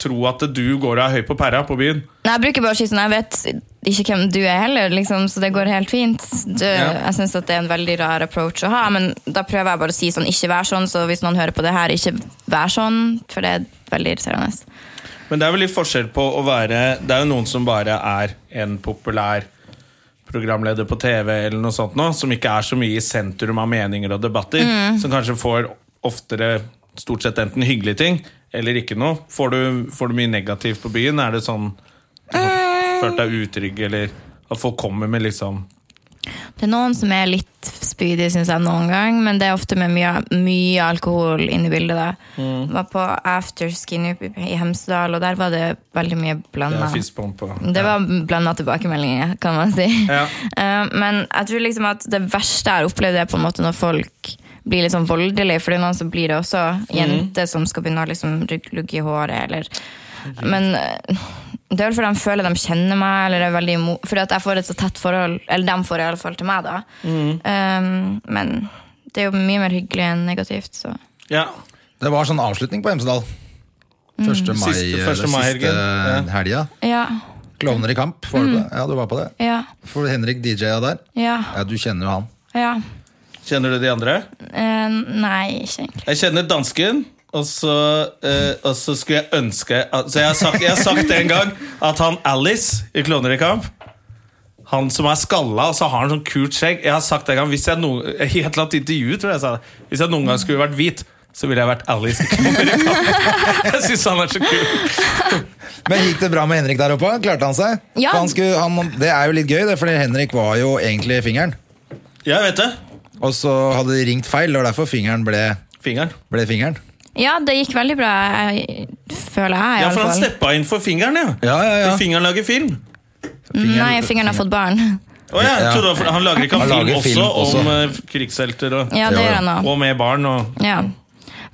[SPEAKER 1] tro at du går og er høy på pæra på byen.
[SPEAKER 3] Nei, jeg bruker bare å si sånn, jeg vet ikke hvem du er heller, liksom, så det går helt fint. Du, Jeg synes at det er en veldig rar approach å ha, men da prøver jeg bare å si sånn, ikke vær sånn, så hvis noen hører på det her, ikke vær sånn, for det er veldig irriterende.
[SPEAKER 1] Men det er vel litt forskjell på å være Det er jo noen som bare er en populær programleder på TV, eller noe sånt nå, som ikke er så mye i sentrum av meninger og debatter. Som kanskje får oftere stort sett enten hyggelige ting eller ikke noe. Får du, får du mye negativt på byen? Er det sånn du har følt deg utrygg, eller at folk kommer med liksom
[SPEAKER 3] Det er noen som er litt spydige, synes jeg, noen gang, men det er ofte med mye, mye alkohol inne i bildet. Da.
[SPEAKER 1] Mm.
[SPEAKER 3] Var på afterskin i i Hemsedal, og der var det veldig mye
[SPEAKER 1] Det
[SPEAKER 3] blandet.
[SPEAKER 1] er fistbump og
[SPEAKER 3] Det var blanda tilbakemeldinger, kan man si.
[SPEAKER 1] Ja.
[SPEAKER 3] Eh, Men jeg tror liksom at det verste jeg har opplevd, er på en måte når folk blir litt sånn voldelige. For det er noen som blir det også. Jenter som skal begynne å liksom rugg- lugge i håret, eller Men eh, det er vel fordi de føler de kjenner meg, eller er veldig imot Fordi at jeg får et så tett forhold, eller de får i alle fall til meg, da. Eh, men det er jo mye mer hyggelig enn negativt, så
[SPEAKER 1] Ja.
[SPEAKER 2] Det var sånn avslutning på Hemsedal. 1. mai,
[SPEAKER 1] Siste-
[SPEAKER 2] eller
[SPEAKER 1] første
[SPEAKER 2] siste
[SPEAKER 1] mai-helgen,
[SPEAKER 2] helga.
[SPEAKER 3] ja.
[SPEAKER 2] Klovner i kamp, var du på det?
[SPEAKER 3] Mm.
[SPEAKER 2] Ja, du var på det.
[SPEAKER 3] Ja.
[SPEAKER 2] For Henrik DJ-a der.
[SPEAKER 3] Ja.
[SPEAKER 2] Ja, du kjenner jo han.
[SPEAKER 3] Ja.
[SPEAKER 1] Kjenner du de andre?
[SPEAKER 3] Eh, nei, ikke egentlig.
[SPEAKER 1] Jeg kjenner dansken, og så, eh, og så skulle jeg ønske at, Så jeg har sagt, jeg har sagt en gang at han Alice i Kloner i kamp han som er skalla, og så har han sånn kult skjegg. Jeg har sagt en gang, hvis jeg noen, I et eller annet intervju tror jeg jeg sa det. Hvis jeg noen gang skulle vært hvit, så ville jeg vært Alice. i Kloner i kamp. Jeg syns han er så kul.
[SPEAKER 2] Men gikk det bra med Henrik der oppe? Klarte han seg?
[SPEAKER 3] Ja.
[SPEAKER 2] For Han skulle, han, det er jo litt gøy, det, fordi Henrik var jo egentlig fingeren.
[SPEAKER 1] Jeg vet det.
[SPEAKER 2] Og så hadde de ringt feil, og derfor fingeren ble,
[SPEAKER 1] Fingeren.
[SPEAKER 2] ble fingeren.
[SPEAKER 3] Ja, det gikk veldig bra, jeg, føler jeg. i
[SPEAKER 1] Ja,
[SPEAKER 3] alle
[SPEAKER 1] for han
[SPEAKER 3] fall.
[SPEAKER 1] steppa inn for fingeren, ja.
[SPEAKER 2] Ja, ja, ja.
[SPEAKER 1] Til Fingeren lager film.
[SPEAKER 2] Fingeren-
[SPEAKER 3] Nei, fingeren har fått barn.
[SPEAKER 1] Å ja, jeg
[SPEAKER 2] Ja.
[SPEAKER 1] trodde han- han lager ikke
[SPEAKER 2] Han
[SPEAKER 1] han film,
[SPEAKER 2] lager film
[SPEAKER 1] også, om
[SPEAKER 2] også.
[SPEAKER 1] eh, krigshelter og,
[SPEAKER 3] Ja, det gjør han nå.
[SPEAKER 1] og med barn. Og,
[SPEAKER 3] Ja.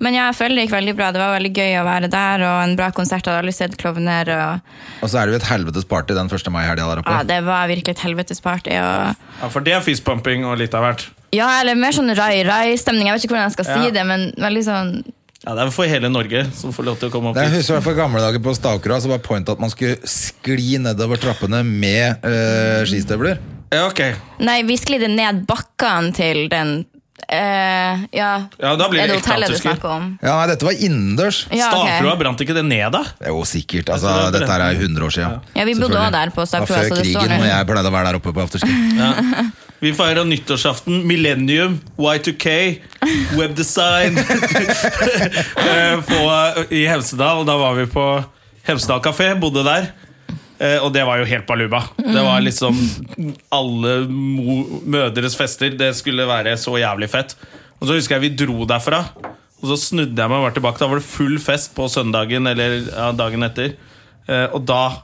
[SPEAKER 3] Men ja, jeg føler det gikk veldig bra. Det var veldig gøy å være der, og en bra konsert. Jeg hadde aldri sett klovner. Og,
[SPEAKER 2] Og så er det jo et helvetes party den 1. mai-helga der oppe.
[SPEAKER 3] ja, det var virkelig et helvetes party. Og,
[SPEAKER 1] ja, for det er fistpumping og litt av hvert.
[SPEAKER 3] ja, eller mer sånn rai-rai-stemning. Jeg vet ikke hvordan jeg skal si
[SPEAKER 1] Ja.
[SPEAKER 3] det, men veldig sånn
[SPEAKER 1] Ja, Det er for hele Norge som får lov til å komme opp
[SPEAKER 2] Jeg
[SPEAKER 1] hit.
[SPEAKER 2] husker i hvert fall gamle dager på Stakra, så var pointet at man skulle skli nedover trappene med øh, skistøvler.
[SPEAKER 1] Ja, ok.
[SPEAKER 3] Nei, vi sklidde ned bakkene til den eh, ja,
[SPEAKER 1] Ja, da blir det
[SPEAKER 3] er det
[SPEAKER 1] ekte
[SPEAKER 3] hotellet du
[SPEAKER 1] antisker.
[SPEAKER 3] snakker om?
[SPEAKER 2] Ja, nei, dette var innendørs.
[SPEAKER 3] Ja, ok.
[SPEAKER 1] Stavfrua, brant ikke det ned, da?
[SPEAKER 2] Det er jo sikkert, altså,
[SPEAKER 1] tror det er på
[SPEAKER 2] dette her er jo 100 år siden.
[SPEAKER 3] Ja, vi bodde
[SPEAKER 2] Selvfølgelig.
[SPEAKER 3] også der på Stakra,
[SPEAKER 2] Det var
[SPEAKER 3] så
[SPEAKER 2] før
[SPEAKER 3] det står
[SPEAKER 2] krigen,
[SPEAKER 3] der.
[SPEAKER 2] og jeg pleide å være der oppe på afterski.
[SPEAKER 1] Vi feira nyttårsaften, millennium, Y2K, webdesign Eh, på- i Hemsedal. Da var vi på Hemsedal kafé, bodde der. Eh, Og det var jo helt baluba. Det var liksom alle mo mødres fester. Det skulle være så jævlig fett. Og så husker jeg vi dro derfra, og så snudde jeg meg og var tilbake. Da var det full fest på søndagen eller ja, dagen etter. Eh, Og da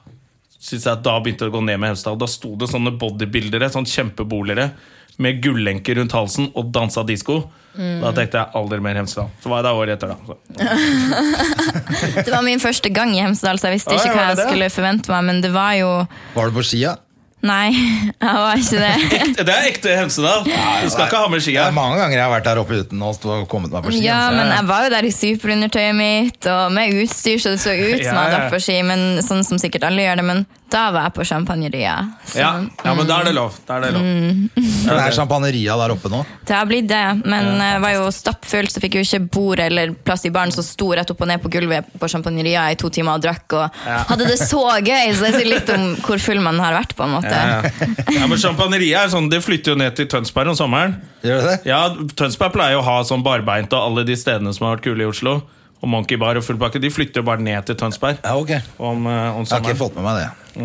[SPEAKER 1] synes jeg at da begynte det å gå ned med Hemsedal. Da sto det sånne bodybuildere, sånn kjempeboligere, med gullenker rundt halsen og dansa disko.
[SPEAKER 2] Mm.
[SPEAKER 1] Da tenkte jeg aldri mer Hemsedal. Så var jeg der året etter, da. Så.
[SPEAKER 3] Det var min første gang i Hemsedal, så jeg visste
[SPEAKER 1] Oi,
[SPEAKER 3] ikke
[SPEAKER 1] var
[SPEAKER 3] hva
[SPEAKER 1] det
[SPEAKER 3] jeg
[SPEAKER 1] det?
[SPEAKER 3] skulle forvente meg, men det var jo
[SPEAKER 2] Var du på skia?
[SPEAKER 3] Nei, jeg var ikke det.
[SPEAKER 1] Det er ekte Hemsedal! Du skal ikke ha med
[SPEAKER 2] Det
[SPEAKER 1] skia.
[SPEAKER 2] er mange ganger jeg har vært der oppe uten å stå og kommet meg på ski.
[SPEAKER 3] Ja,
[SPEAKER 2] altså.
[SPEAKER 3] men jeg var jo der i superundertøyet mitt og med utstyr, så det så ut som jeg hadde vært på ski. Men sånn som sikkert alle gjør det, men da var jeg på Champagneria. Så
[SPEAKER 1] Ja,
[SPEAKER 2] sånn.
[SPEAKER 1] ja, men da er det lov. Da er det lov.
[SPEAKER 2] Mm. For det er champagneria der oppe nå.
[SPEAKER 3] Mm. det har blitt det. Men jeg var jo stappfull, så fikk jeg jo ikke bord eller plass i baren, så sto rett opp og ned på gulvet på Champagneria i to timer og drakk og hadde det så gøy. Så det sier litt om hvor full man har vært, på en måte.
[SPEAKER 1] Ja, ja, men Champagneria er sånn, det flytter jo ned til Tønsberg om sommeren.
[SPEAKER 2] Gjør det det?
[SPEAKER 1] Ja, Tønsberg pleier jo å ha sånn barbeint og alle de stedene som har vært kule i Oslo. Og Monkey Bar og Fullpakke. De flytter jo bare ned til Tønsberg
[SPEAKER 2] Ja, ok. Jeg
[SPEAKER 1] om, eh,
[SPEAKER 2] har ikke
[SPEAKER 1] om sommeren.
[SPEAKER 2] fått med meg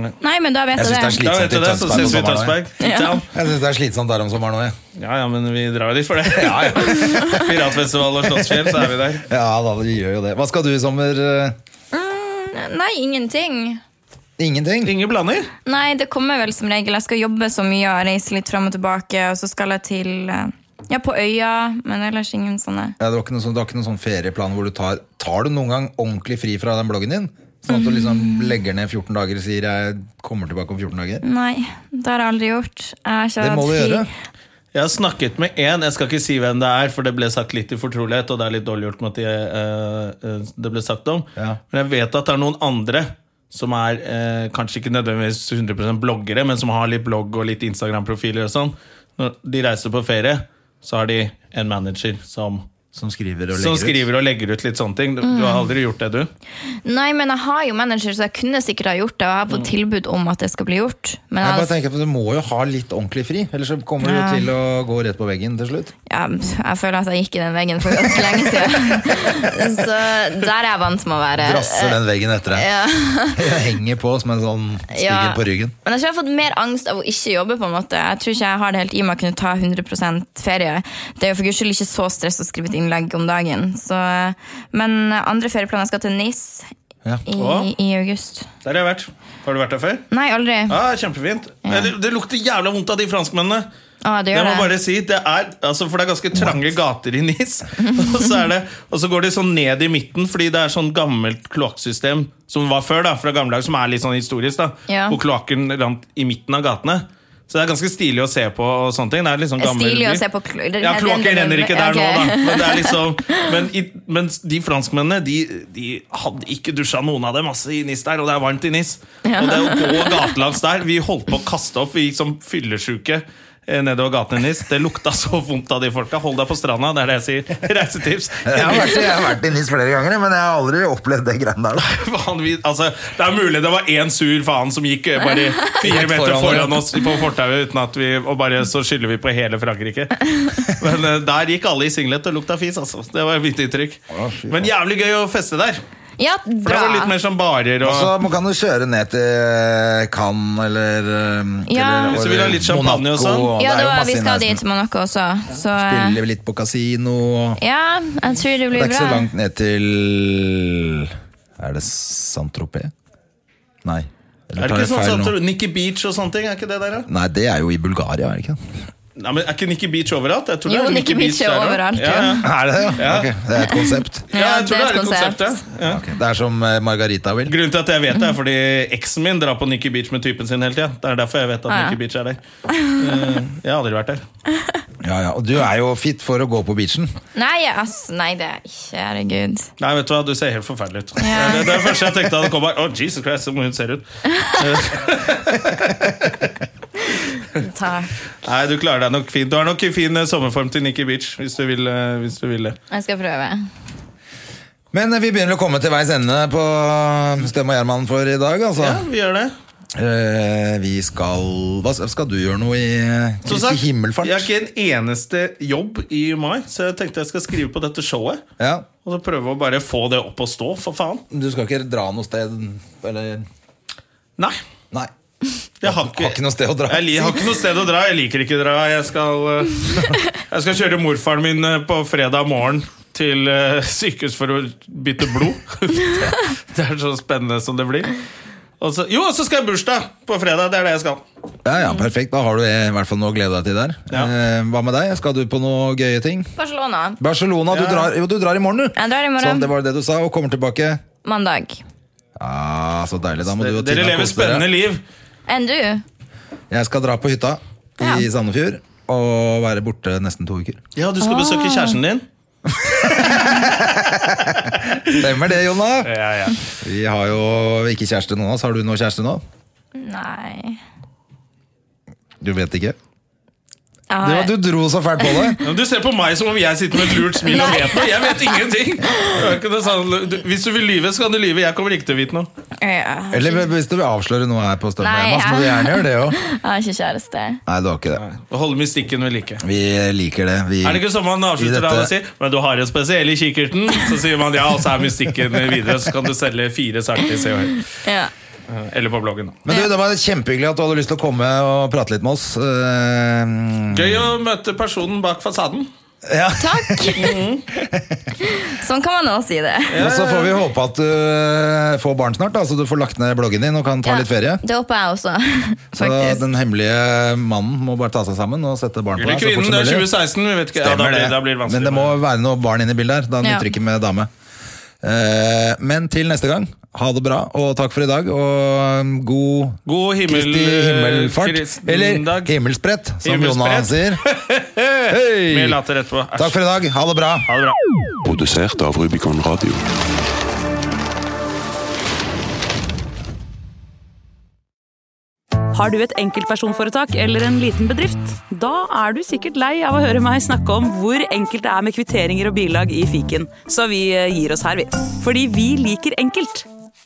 [SPEAKER 2] det.
[SPEAKER 3] Nei, men da vet
[SPEAKER 2] Jeg
[SPEAKER 3] jeg,
[SPEAKER 2] synes det er
[SPEAKER 3] det.
[SPEAKER 2] slik-
[SPEAKER 1] Da vet du det, så ses vi i Tønsberg. Ja.
[SPEAKER 2] Jeg synes det er slitsomt der om sommeren òg.
[SPEAKER 1] Ja, ja, men vi drar jo dit for det. Piratfestival og Slottsfjell, så er vi der.
[SPEAKER 2] Ja, da, vi gjør jo det. Hva skal du i sommer? eh?
[SPEAKER 3] Mm, Nei, ingenting.
[SPEAKER 2] Ingenting?
[SPEAKER 1] Ingen planer?
[SPEAKER 3] Nei, det kommer vel som regel. Jeg skal jobbe så mye og reise litt fram og tilbake. Og så skal jeg til eh, Ja, på øya, men ellers ingen sånne.
[SPEAKER 2] Ja, det, var ikke noe sånn, det var ikke noen sånn ferieplan hvor du tar Tar du noen gang ordentlig fri fra den bloggen din? Sånn at du
[SPEAKER 3] Mm.
[SPEAKER 2] liksom legger ned 14 dager og sier 'jeg kommer tilbake om 14 dager'?
[SPEAKER 3] Nei, det har jeg aldri gjort. Jeg har ikke
[SPEAKER 2] Det må
[SPEAKER 3] hatt
[SPEAKER 2] du
[SPEAKER 3] fri.
[SPEAKER 2] gjøre.
[SPEAKER 1] Jeg har snakket med én, jeg skal ikke si hvem det er, for det ble sagt litt i fortrolighet, og det er litt dårlig gjort med at de, eh, eh, det ble sagt om.
[SPEAKER 2] Ja.
[SPEAKER 1] Men jeg vet at det er noen andre som er eh, kanskje ikke nødvendigvis 100 bloggere, men som har litt blogg og litt Instagram-profiler og sånn. Når de reiser på ferie, så har de en manager som,
[SPEAKER 2] Som skriver og legger
[SPEAKER 1] som
[SPEAKER 2] ut.
[SPEAKER 1] skriver og legger ut litt sånne ting. Du, du har aldri gjort det, du?
[SPEAKER 3] Nei, men jeg har jo manager, så jeg kunne sikkert ha gjort det. Og jeg har fått tilbud om at det skal bli gjort. Men
[SPEAKER 2] Mm. Jeg
[SPEAKER 3] jeg,
[SPEAKER 2] bare tenker at Du må jo ha litt ordentlig fri, ellers så kommer du jo
[SPEAKER 3] Ja.
[SPEAKER 2] til å gå rett på veggen til slutt.
[SPEAKER 3] ja, jeg føler at jeg gikk i den veggen for ganske lenge siden. så der er jeg vant med å være.
[SPEAKER 2] Drasser den veggen etter deg. Jeg henger på som en sånn spigel
[SPEAKER 3] Ja.
[SPEAKER 2] på ryggen.
[SPEAKER 3] Men jeg tror jeg har fått mer angst av å ikke jobbe. på en måte Jeg tror ikke jeg har det helt i meg å kunne ta 100 ferie. Det er jo for guds skyld ikke så stress å skrive et innlegg om dagen. Så, men andre ferieplaner skal til NIS
[SPEAKER 2] Ja.
[SPEAKER 3] i,
[SPEAKER 1] Å?
[SPEAKER 3] i august.
[SPEAKER 1] Der har jeg vært. Har du vært der før?
[SPEAKER 3] Nei, aldri.
[SPEAKER 1] Ja, kjempefint. Men Det, det lukter jævla vondt av de franskmennene.
[SPEAKER 3] Ah, det
[SPEAKER 1] Det
[SPEAKER 3] gjør
[SPEAKER 1] må
[SPEAKER 3] det.
[SPEAKER 1] bare si, det er, altså, for det er ganske trange gater i Nis. Og så, er det, og så går de sånn ned i midten, fordi det er sånn gammelt kloakksystem som var før, da, fra gamle dager, som er litt sånn historisk. da,
[SPEAKER 3] Ja.
[SPEAKER 1] Hvor kloakken rant i midten av gatene. Så det er ganske stilig å se på. og sånne ting. Det er litt sånn
[SPEAKER 3] Det er
[SPEAKER 1] gammel
[SPEAKER 3] stilig å
[SPEAKER 1] by.
[SPEAKER 3] se på klo- det-
[SPEAKER 1] Ja,
[SPEAKER 3] det-
[SPEAKER 1] kloakken
[SPEAKER 3] det- det-
[SPEAKER 1] renner ikke
[SPEAKER 3] ja,
[SPEAKER 1] der nå,
[SPEAKER 3] ok.
[SPEAKER 1] da. Men, det er liksom, men, i, men de franskmennene de, de hadde ikke dusja noen av dem masse i Nis der, og det er varmt i Nis. Og det å gå gatelangs der Vi holdt på å kaste opp, vi gikk som fyllesyke. eh, Nedover gaten i Nis. Det lukta så vondt av de folka. Hold deg på stranda, det er det jeg sier. Reisetips.
[SPEAKER 4] Jeg har, vært, jeg har vært i NIS flere ganger, men jeg har aldri opplevd det greiene der. da.
[SPEAKER 1] Vanligvis, altså, det er mulig det var én sur faen som gikk eh, bare fire meter
[SPEAKER 2] foran
[SPEAKER 1] foran oss på fortauet, uten at vi, og bare så skylder vi på hele Frankrike. Men eh, der gikk alle i singlet og lukta fis, altså. Det var mitt inntrykk. Men jævlig gøy å feste der.
[SPEAKER 3] Ja,
[SPEAKER 1] For det var litt
[SPEAKER 3] bra.
[SPEAKER 1] mer sånn. som barer
[SPEAKER 4] Og
[SPEAKER 2] Altså,
[SPEAKER 4] så
[SPEAKER 1] og
[SPEAKER 4] må- kan du kjøre ned
[SPEAKER 2] eh,
[SPEAKER 4] til Cannes eller, eh,
[SPEAKER 3] Ja.
[SPEAKER 4] eller
[SPEAKER 1] Hvis du vil ha litt champagne og sånn.
[SPEAKER 4] Monaco,
[SPEAKER 3] Ja,
[SPEAKER 4] er
[SPEAKER 3] det
[SPEAKER 4] jo
[SPEAKER 3] var,
[SPEAKER 4] masse
[SPEAKER 3] vi skal
[SPEAKER 4] i nærheten.
[SPEAKER 3] dit Monaco også. Så eh,
[SPEAKER 2] Spiller litt på kasino. og-
[SPEAKER 3] ja, jeg tror det
[SPEAKER 2] Det
[SPEAKER 3] blir
[SPEAKER 2] er ikke så
[SPEAKER 3] bra.
[SPEAKER 2] langt ned til Er det Saint-Tropez? Nei. Eller
[SPEAKER 1] Er det
[SPEAKER 2] tar
[SPEAKER 1] ikke
[SPEAKER 2] jeg
[SPEAKER 1] sånn
[SPEAKER 2] feil
[SPEAKER 1] som
[SPEAKER 2] nå?
[SPEAKER 1] tror- Nikki Beach og sånne ting? Er ikke det der, da?
[SPEAKER 2] Nei, det er jo i Bulgaria, er det ikke? det?
[SPEAKER 1] Nei, men Er ikke Nikki Beach overalt? Jeg tror
[SPEAKER 3] Jo,
[SPEAKER 1] det er
[SPEAKER 3] Nikki Beach er
[SPEAKER 1] der også.
[SPEAKER 3] overalt,
[SPEAKER 1] Ja, ja.
[SPEAKER 2] Er det det?
[SPEAKER 1] Ja.
[SPEAKER 2] Ok, det er et konsept.
[SPEAKER 1] Ja, jeg tror det er et konsept. ja. Ja.
[SPEAKER 2] Ok, Det er som eh, Margarita vil.
[SPEAKER 1] Grunnen til at jeg vet det, er fordi eksen min drar på Nikki Beach med typen sin hele tida. Det er derfor jeg vet at
[SPEAKER 3] Ah, ja.
[SPEAKER 1] Nikki Beach er der. Eh, Jeg har aldri vært der.
[SPEAKER 2] Ja, ja, Og du er jo fit for å gå på beachen.
[SPEAKER 3] Nei, ass, nei, det er ikke Herregud.
[SPEAKER 1] Nei, vet du hva, du ser helt forferdelig ut. Det, det er det første jeg tenkte da det kom her. Å, Jesus Christ, som hun ser ut.
[SPEAKER 3] Takk.
[SPEAKER 1] Nei, du klarer deg nok fint. Du har nok i fin eh, sommerform til Nikki Beach, hvis du vil, eh, hvis du vil det.
[SPEAKER 3] Jeg skal prøve.
[SPEAKER 2] Men eh, vi begynner å komme til veis ende på eh, Stem og Gjerman for i dag, altså.
[SPEAKER 1] Ja, vi gjør det.
[SPEAKER 2] Eh, Vi skal Hva skal du gjøre noe i eh,
[SPEAKER 1] Som
[SPEAKER 2] Kristi
[SPEAKER 1] sagt,
[SPEAKER 2] himmelfart?
[SPEAKER 1] Jeg har ikke en eneste jobb i mai, så jeg tenkte jeg skal skrive på dette showet.
[SPEAKER 2] Ja.
[SPEAKER 1] Og så prøve å bare få det opp og stå, for faen.
[SPEAKER 2] Du skal ikke dra noe sted, eller
[SPEAKER 1] Nei.
[SPEAKER 2] Nei.
[SPEAKER 1] Jeg har
[SPEAKER 2] Har ikke noe sted å dra.
[SPEAKER 1] Jeg, li- har ikke noe sted å dra. Jeg liker ikke å dra. Jeg skal, eh, jeg skal kjøre morfaren min eh, på fredag morgen til eh, sykehus for å bytte blod. Det, det er så spennende som det blir. Og så, jo, og så skal jeg i bursdag på fredag. Det er det jeg skal.
[SPEAKER 2] Ja, ja, perfekt. Da har du i hvert fall noe å glede deg til der.
[SPEAKER 1] Ja.
[SPEAKER 2] Eh, hva med deg? Skal du på noe gøye ting?
[SPEAKER 3] Barcelona.
[SPEAKER 2] Barcelona, du,
[SPEAKER 1] Ja.
[SPEAKER 2] drar, jo, du drar i morgen, du.
[SPEAKER 3] Jeg drar i morgen.
[SPEAKER 2] Sånn, det var det du sa, og kommer tilbake.
[SPEAKER 3] Mandag.
[SPEAKER 2] Ja, Så deilig. Da må du
[SPEAKER 1] Dere,
[SPEAKER 2] og Tina kose
[SPEAKER 1] lever
[SPEAKER 2] dere.
[SPEAKER 1] spennende liv.
[SPEAKER 3] Enn du?
[SPEAKER 2] Jeg skal dra på hytta
[SPEAKER 3] Ja.
[SPEAKER 2] i Sandefjord og være borte nesten to uker.
[SPEAKER 1] Ja, du skal besøke kjæresten din.
[SPEAKER 2] Stemmer det, Jonna?
[SPEAKER 1] Ja, ja.
[SPEAKER 2] Vi har jo ikke kjæreste nå. Så har du noe kjæreste nå?
[SPEAKER 3] Nei.
[SPEAKER 2] Du vet ikke?
[SPEAKER 3] Jeg
[SPEAKER 2] Du,
[SPEAKER 3] har...
[SPEAKER 2] du dro så fælt på det.
[SPEAKER 1] Men Du ser på meg som om jeg sitter med et lurt smil og vet noe. Jeg vet ingenting. Det er ikke noe sånn- du- Hvis du vil lyve, så kan du lyve. Jeg kommer ikke til å vite noe.
[SPEAKER 3] Ja.
[SPEAKER 2] Eller hvis du vil avsløre noe her, på Stømme,
[SPEAKER 3] Nei,
[SPEAKER 2] så må du
[SPEAKER 3] ja.
[SPEAKER 2] gjerne gjøre det òg.
[SPEAKER 3] Jeg har ikke kjæreste.
[SPEAKER 2] Nei, du har ikke det.
[SPEAKER 1] Holde mystikken ved like.
[SPEAKER 2] Vi liker det. Vi
[SPEAKER 1] Er det ikke sånn man avslutter
[SPEAKER 2] I dette-
[SPEAKER 1] da og sier Men du har en spesiell i kikkerten Så sier man ja, og så er mystikken videre Så kan du selge fire saker i COH
[SPEAKER 3] Ja.
[SPEAKER 1] Eh, Eller på bloggen da
[SPEAKER 2] Men du, det var kjempehyggelig at du hadde lyst til å komme og prate litt med oss. Eh,
[SPEAKER 1] Gøy å møte personen bak fasaden
[SPEAKER 3] Takk! sånn kan man også si det.
[SPEAKER 2] Og så får vi håpe at du eh, får barn snart, da, så du får lagt ned bloggen din og kan ta
[SPEAKER 3] Ja,
[SPEAKER 2] litt ferie.
[SPEAKER 3] Det håper jeg også.
[SPEAKER 2] Så
[SPEAKER 3] Faktisk.
[SPEAKER 2] den hemmelige mannen må bare ta seg sammen og sette barn på
[SPEAKER 1] Eller
[SPEAKER 2] deg. så fort
[SPEAKER 1] kvinnen,
[SPEAKER 2] som
[SPEAKER 1] det er
[SPEAKER 2] mulig.
[SPEAKER 1] 2016. Vi vet ikke. Ja, da
[SPEAKER 2] Stemmer
[SPEAKER 1] blir,
[SPEAKER 2] det.
[SPEAKER 1] da blir det vanskelig.
[SPEAKER 2] Men det må være noe barn inne i bildet her. Da nytter
[SPEAKER 3] Ja.
[SPEAKER 2] det ikke med dame. Eh, Men til neste gang, ha det bra, og takk for i dag, og um, god
[SPEAKER 1] God himmel,
[SPEAKER 2] Kristi himmelfart.
[SPEAKER 1] kristendag.
[SPEAKER 2] Eller himmelsbrett, som Jonas sier.
[SPEAKER 1] Himmelsbrett.
[SPEAKER 2] Hei!
[SPEAKER 1] Mer latter etterpå. Æsj.
[SPEAKER 2] Takk for i dag, ha det bra.
[SPEAKER 1] Ha det bra.
[SPEAKER 5] Produsert av Rubicon Radio.
[SPEAKER 6] Har du et enkeltpersonforetak eller en liten bedrift? Da er du sikkert lei av å høre meg snakke om hvor enkelt det er med kvitteringer og bilag i fiken, så vi eh, gir oss her, vi. Fordi vi liker enkelt.